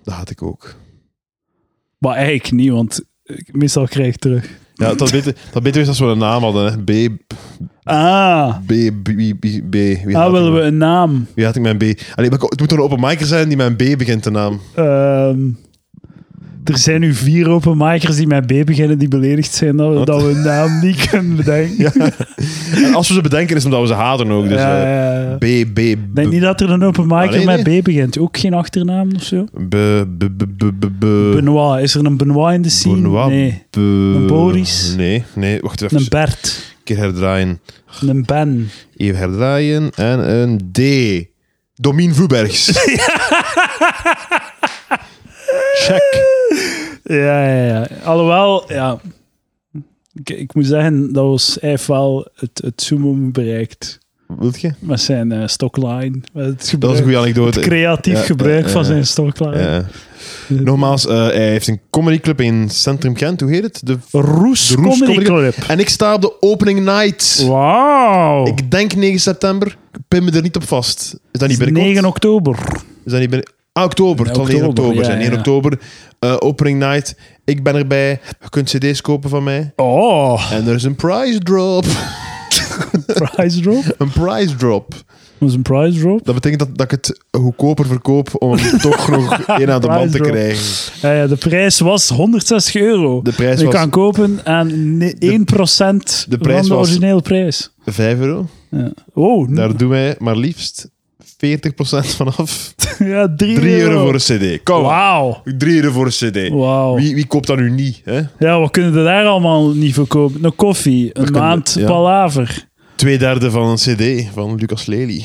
Speaker 2: dat haat ik ook.
Speaker 1: Maar eigenlijk niet, want ik- meestal krijg ik terug.
Speaker 2: Ja, dat beter, dat beter is als we een naam hadden. Hè. B,
Speaker 1: Ah,
Speaker 2: B, B, B, B, B. Wie haat
Speaker 1: ah
Speaker 2: ik
Speaker 1: willen we
Speaker 2: mijn-
Speaker 1: een naam.
Speaker 2: Wie haat ik mijn B? Allee, maar het moet toch een open micer zijn die mijn B begint te naam.
Speaker 1: Ehm, Er zijn nu vier openmakers die met B beginnen die beledigd zijn dat,
Speaker 2: Wat?
Speaker 1: dat we hun naam niet kunnen bedenken.
Speaker 2: Ja. En als we ze bedenken, is het omdat we ze haten ook. Dus,
Speaker 1: Ja,
Speaker 2: eh,
Speaker 1: ja, ja.
Speaker 2: B, B,
Speaker 1: Ik
Speaker 2: B,
Speaker 1: denk niet dat er een openmaker
Speaker 2: Ah, nee,
Speaker 1: met B begint. Ook geen achternaam of zo.
Speaker 2: B- B- B- B- B- B-
Speaker 1: Benoit. Is er een Benoit in de scene?
Speaker 2: Eh, Benoit.
Speaker 1: Nee.
Speaker 2: B- Een
Speaker 1: Boris.
Speaker 2: Nee, nee, wacht even.
Speaker 1: Een
Speaker 2: Een
Speaker 1: Bert.
Speaker 2: keer herdraaien.
Speaker 1: Een Ben.
Speaker 2: Even herdraaien. En een D. Domien Vubergs. Check.
Speaker 1: Ja, ja, ja. Alhoewel, ja. Ik, ik moet zeggen, dat was echt wel het, het summum bereikt.
Speaker 2: Wilt je?
Speaker 1: Met zijn eh, stockline. Met het gebruik,
Speaker 2: Dat is een goede anekdote.
Speaker 1: het creatief
Speaker 2: Ja,
Speaker 1: gebruik
Speaker 2: ja, ja,
Speaker 1: van
Speaker 2: ja.
Speaker 1: zijn stockline.
Speaker 2: Ja. Nogmaals, eh, hij heeft een comedyclub in Centrum Gent. Hoe heet het? De...
Speaker 1: Roes,
Speaker 2: De Roes
Speaker 1: Comedy
Speaker 2: Comedy
Speaker 1: Club.
Speaker 2: En ik sta op de opening night.
Speaker 1: Wauw.
Speaker 2: Ik denk 9 september. Ik pin me er niet op vast. Is dat niet
Speaker 1: Het is
Speaker 2: binnenkort?
Speaker 1: 9 oktober.
Speaker 2: Is dat niet binnen... Ah, oktober.
Speaker 1: Ja,
Speaker 2: Het zal 9
Speaker 1: oktober,
Speaker 2: oktober zijn.
Speaker 1: ja,
Speaker 2: 1
Speaker 1: ja.
Speaker 2: oktober. eh, opening night. Ik ben erbij. Je kunt cd's kopen van mij.
Speaker 1: Oh,
Speaker 2: En er is een prize drop.
Speaker 1: price drop.
Speaker 2: een prize drop.
Speaker 1: Dat is een price drop.
Speaker 2: Dat betekent dat, dat ik het goedkoper verkoop om hem toch nog één aan de man
Speaker 1: Prize
Speaker 2: te
Speaker 1: drop.
Speaker 2: krijgen.
Speaker 1: Ja, ja, de prijs was 160 euro.
Speaker 2: De prijs
Speaker 1: Je
Speaker 2: was
Speaker 1: kan kopen aan ne- 1%
Speaker 2: de prijs
Speaker 1: van de
Speaker 2: was-
Speaker 1: originele prijs.
Speaker 2: 5 euro.
Speaker 1: Ja. Oh, n-
Speaker 2: Daar doen wij maar liefst 40% vanaf.
Speaker 1: ja, 3,
Speaker 2: 3 euro voor een cd. Kom.
Speaker 1: Wauw.
Speaker 2: 3 euro voor een cd.
Speaker 1: Wauw.
Speaker 2: Wie, wie koopt dat nu niet? Hè?
Speaker 1: Ja, wat kunnen we daar allemaal niet voor kopen? Een koffie, een
Speaker 2: kunnen-
Speaker 1: maand
Speaker 2: ja.
Speaker 1: palaver.
Speaker 2: Twee derde van een cd van Lucas Lely.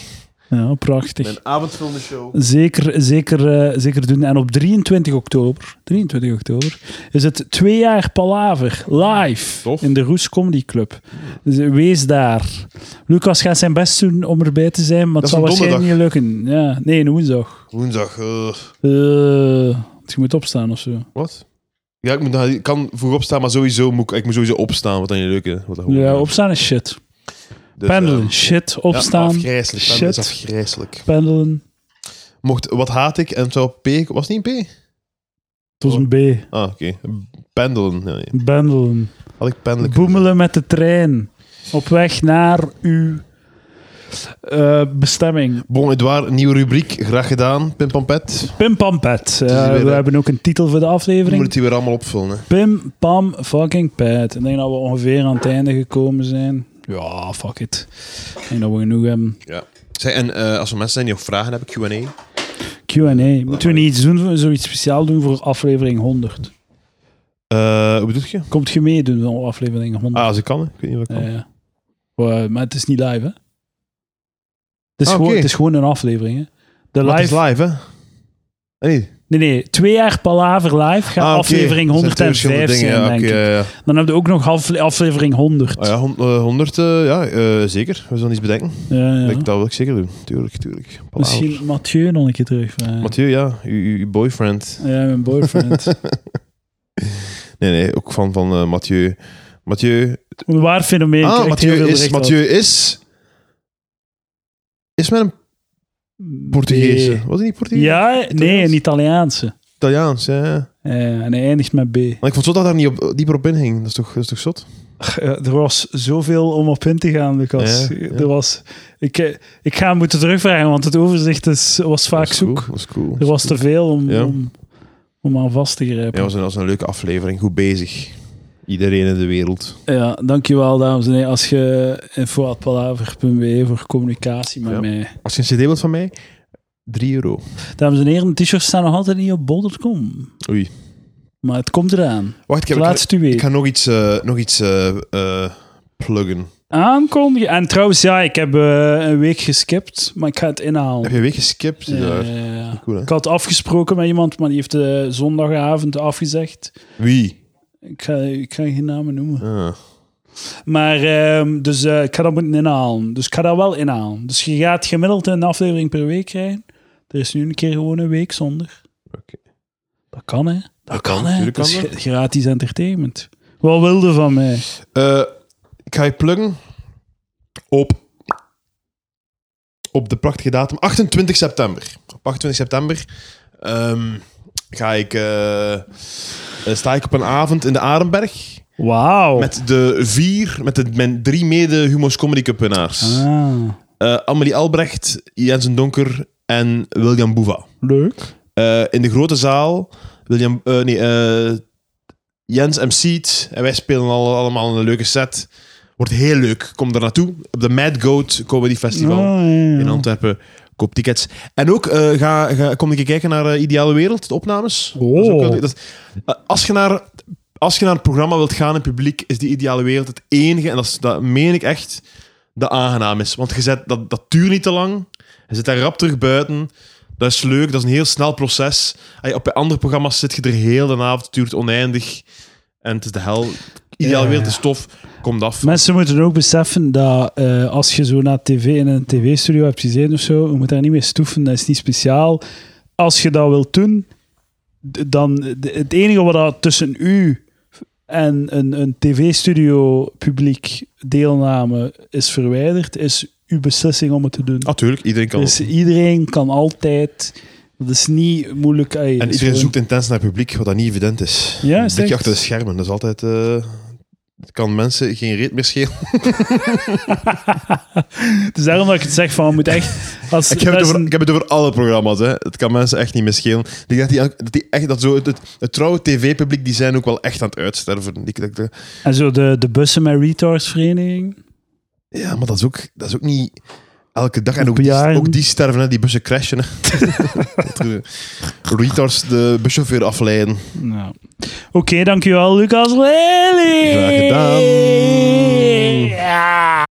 Speaker 1: Ja, prachtig.
Speaker 2: avondvullende show.
Speaker 1: Zeker, zeker, eh, zeker doen. En op 23 oktober, 23 oktober is het twee jaar Palaver live
Speaker 2: Tof.
Speaker 1: in de Roes Comedy Club. Dus eh, wees daar. Lucas gaat zijn best doen om erbij te zijn, maar
Speaker 2: Dat
Speaker 1: het zal
Speaker 2: is een
Speaker 1: waarschijnlijk niet lukken. Ja, nee, een woensdag.
Speaker 2: Woensdag. eh,
Speaker 1: Eh, want je moet opstaan of zo.
Speaker 2: Wat? Ja, ik, moet, nog- ik kan vroeg opstaan, maar sowieso moet ik, ik moet sowieso opstaan. Wat dan niet lukken. Wat dat
Speaker 1: Ja,
Speaker 2: gewoon-
Speaker 1: opstaan is shit.
Speaker 2: Dus,
Speaker 1: Pendelen,
Speaker 2: eh,
Speaker 1: shit.
Speaker 2: ja,
Speaker 1: Opstaan,
Speaker 2: afgrijselijk. Pendelen
Speaker 1: Shit.
Speaker 2: is afgrijselijk.
Speaker 1: pendelen.
Speaker 2: Mocht, wat haat ik? En het zou P... Was het niet een P?
Speaker 1: Het was een B.
Speaker 2: Ah, oké. Pendelen. Ja, nee.
Speaker 1: Pendelen.
Speaker 2: Had ik pendelen kunnen
Speaker 1: Boemelen met de trein. Op weg naar uw eh, bestemming.
Speaker 2: zeggen. Bon, Edouard, nieuwe rubriek. Graag gedaan. Pim Pampet.
Speaker 1: Pim Pam Pet. Eh,
Speaker 2: is weer,
Speaker 1: we
Speaker 2: eh,
Speaker 1: hebben ook een titel voor de
Speaker 2: We
Speaker 1: aflevering.
Speaker 2: moeten die weer allemaal opvullen. hè.
Speaker 1: Pim Pam fucking Pet. Ik denk dat we ongeveer aan het einde gekomen zijn. Ja, fuck it. Ik denk dat we genoeg hebben.
Speaker 2: Ja. Zeg, en eh, als er mensen zijn die nog vragen hebben, Q&A.
Speaker 1: Q&A. Moeten we niet iets doen, zoiets speciaal doen voor aflevering 100?
Speaker 2: Eh, hoe bedoel je?
Speaker 1: Komt je meedoen voor aflevering 100?
Speaker 2: Ah, als ik kan. hè. Ik weet niet wat ik
Speaker 1: Ja,
Speaker 2: kan.
Speaker 1: ja. eh, Maar- maar het is niet live, hè? Het is,
Speaker 2: Ah,
Speaker 1: gewoon,
Speaker 2: oké.
Speaker 1: het is gewoon een aflevering, hè? De
Speaker 2: Maar het
Speaker 1: Eh, live...
Speaker 2: is live, hè? Eh, Nee.
Speaker 1: Nee, nee. Twee jaar Palaver live gaat
Speaker 2: Ah, oké.
Speaker 1: aflevering
Speaker 2: Dat zijn twee
Speaker 1: 105 zijn,
Speaker 2: verschillende dingen, ja,
Speaker 1: denk
Speaker 2: oké,
Speaker 1: ik.
Speaker 2: ja, ja.
Speaker 1: Dan hebben we ook nog half- aflevering 100.
Speaker 2: Ah ja, hon- eh, 100, eh, ja, eh, zeker. We zullen iets bedenken.
Speaker 1: Ja, ja.
Speaker 2: Ik- Dat wil ik zeker doen. Tuurlijk, tuurlijk. Palaver.
Speaker 1: Misschien Mathieu nog een keer terugvragen.
Speaker 2: Mathieu, ja, uw, uw- uw boyfriend.
Speaker 1: Ja, mijn boyfriend.
Speaker 2: Nee, nee, ook van, van eh, Mathieu. Mathieu.
Speaker 1: een waar fenomeen. Ik
Speaker 2: ah,
Speaker 1: krijg heel
Speaker 2: Mathieu
Speaker 1: veel
Speaker 2: is.
Speaker 1: berichten
Speaker 2: Mathieu is. Is met een
Speaker 1: over.
Speaker 2: Portugees.
Speaker 1: B.
Speaker 2: Was hij niet Portugees?
Speaker 1: Ja, nee, een Italiaanse.
Speaker 2: Italiaans, ja. ja.
Speaker 1: Eh, en hij eindigt met B.
Speaker 2: Maar ik vond het zot dat hij daar niet op, dieper op inging. Dat is toch, dat is toch zot?
Speaker 1: Eh, Er was zoveel om op in te gaan, Lucas.
Speaker 2: Ja, ja.
Speaker 1: Er was, ik, eh, ik ga hem moeten terugvragen, want het overzicht is, was vaak
Speaker 2: Dat is cool,
Speaker 1: zoek.
Speaker 2: Dat is cool.
Speaker 1: Er was te veel om,
Speaker 2: Ja.
Speaker 1: om, om aan vast te
Speaker 2: Ja, dat
Speaker 1: grijpen.
Speaker 2: was een, dat was een leuke aflevering. Goed bezig. Iedereen in de wereld.
Speaker 1: Ja, dankjewel dames en heren. Als je info.palaver.be voor communicatie met
Speaker 2: Ja.
Speaker 1: mij.
Speaker 2: Als je een cd wilt van mij, 3 euro.
Speaker 1: Dames en heren, de t-shirts staan nog altijd niet op bol.com.
Speaker 2: Oei.
Speaker 1: Maar het komt eraan.
Speaker 2: Wacht, ik, heb, ik,
Speaker 1: Laatst u
Speaker 2: ik ga
Speaker 1: weer.
Speaker 2: nog iets, eh, nog iets eh, eh, pluggen.
Speaker 1: Aankondigen. En trouwens, ja, ik heb eh, een week geskipt, maar ik ga het inhalen.
Speaker 2: Heb je weer geskipt?
Speaker 1: Ja,
Speaker 2: daar?
Speaker 1: ja, ja.
Speaker 2: Cool, hè?
Speaker 1: Ik had afgesproken met iemand, maar die heeft eh, zondagavond afgezegd.
Speaker 2: Wie?
Speaker 1: Ik ga, ik ga geen namen noemen.
Speaker 2: Ah.
Speaker 1: Maar, ehm, dus eh, ik ga dat moeten inhalen. Dus ik ga dat wel inhalen. Dus je gaat gemiddeld een aflevering per week krijgen. Er is nu een keer gewoon een week zonder.
Speaker 2: Oké.
Speaker 1: Dat kan, hè? Dat, kan, hè?
Speaker 2: tuurlijk
Speaker 1: Dat is
Speaker 2: kan
Speaker 1: gra- gratis entertainment. Wat wilde van mij?
Speaker 2: Eh, ik ga je pluggen op, op de prachtige datum 28 september. Op 28 september ehm, ga ik, eh, eh, sta ik op een avond in de Arenberg
Speaker 1: Wauw.
Speaker 2: met de vier, met de, mijn drie mede Humo's Comedy Cup winnaars.
Speaker 1: Ah,
Speaker 2: Eh, Amelie Albrecht, Jensen Donker en William Boeva.
Speaker 1: leuk.
Speaker 2: Eh, in de grote zaal William, eh, nee, eh, Jens MC't. En wij spelen al, allemaal een leuke set. Wordt heel leuk. Kom daar naartoe. Op de Mad Goat Comedy Festival
Speaker 1: Ah.
Speaker 2: in Antwerpen. Koop tickets. En ook, eh, ga, ga, kom een keer kijken naar eh, Ideale Wereld, de opnames.
Speaker 1: Oh.
Speaker 2: Dat is ook wel- dat- eh, als, je naar, als je naar een programma wilt gaan in het publiek, is die Ideale Wereld het enige, en dat, is, dat meen ik echt, dat aangenaam is. Want je zet, dat, dat duurt niet te lang. Je zit daar rap terug buiten. Dat is leuk, dat is een heel snel proces. Ay, op andere programma's zit je er heel de avond, het duurt oneindig. En het is de hel. Ideale
Speaker 1: Ja.
Speaker 2: Wereld is tof, komt af.
Speaker 1: Mensen moeten ook beseffen dat eh, als je zo naar tv in een tv-studio hebt gezeten of zo, je moet daar niet mee stoeven, dat is niet speciaal. Als je dat wilt doen, d- dan d- het enige wat dat tussen u en een, een tv-studio publiek deelname is verwijderd, is uw beslissing om het te doen.
Speaker 2: Natuurlijk, Ah, iedereen kan.
Speaker 1: Dus iedereen kan altijd, dat is niet moeilijk. ey,
Speaker 2: En
Speaker 1: het is
Speaker 2: iedereen
Speaker 1: gewoon-
Speaker 2: zoekt intens naar publiek, wat dat niet evident is.
Speaker 1: Ja,
Speaker 2: Een
Speaker 1: is echt.
Speaker 2: blikje achter de schermen, dat is altijd... eh, het kan mensen geen reet meer schelen.
Speaker 1: Het is daarom dat ik het zeg van, je moet echt... Als,
Speaker 2: Ik heb,
Speaker 1: dat
Speaker 2: het
Speaker 1: is
Speaker 2: over,
Speaker 1: een-
Speaker 2: ik heb het over alle programma's. Hè. Het kan mensen echt niet meer schelen. Ik denk dat, die, dat, die echt, dat zo, het, het, het trouwe tv-publiek die zijn ook wel echt aan het uitsterven. Die- dat- dat-
Speaker 1: En zo de, de bussen met retardsvereniging.
Speaker 2: ja, maar dat is, ook, dat is ook niet elke dag. En
Speaker 1: Op
Speaker 2: ook die,
Speaker 1: jaren.
Speaker 2: ook die sterven, hè. die bussen crashen. Hè. Retards de buschauffeur afleiden.
Speaker 1: Ja. Oké, dankjewel Lucas Lely.
Speaker 2: Graag gedaan.
Speaker 1: Ja.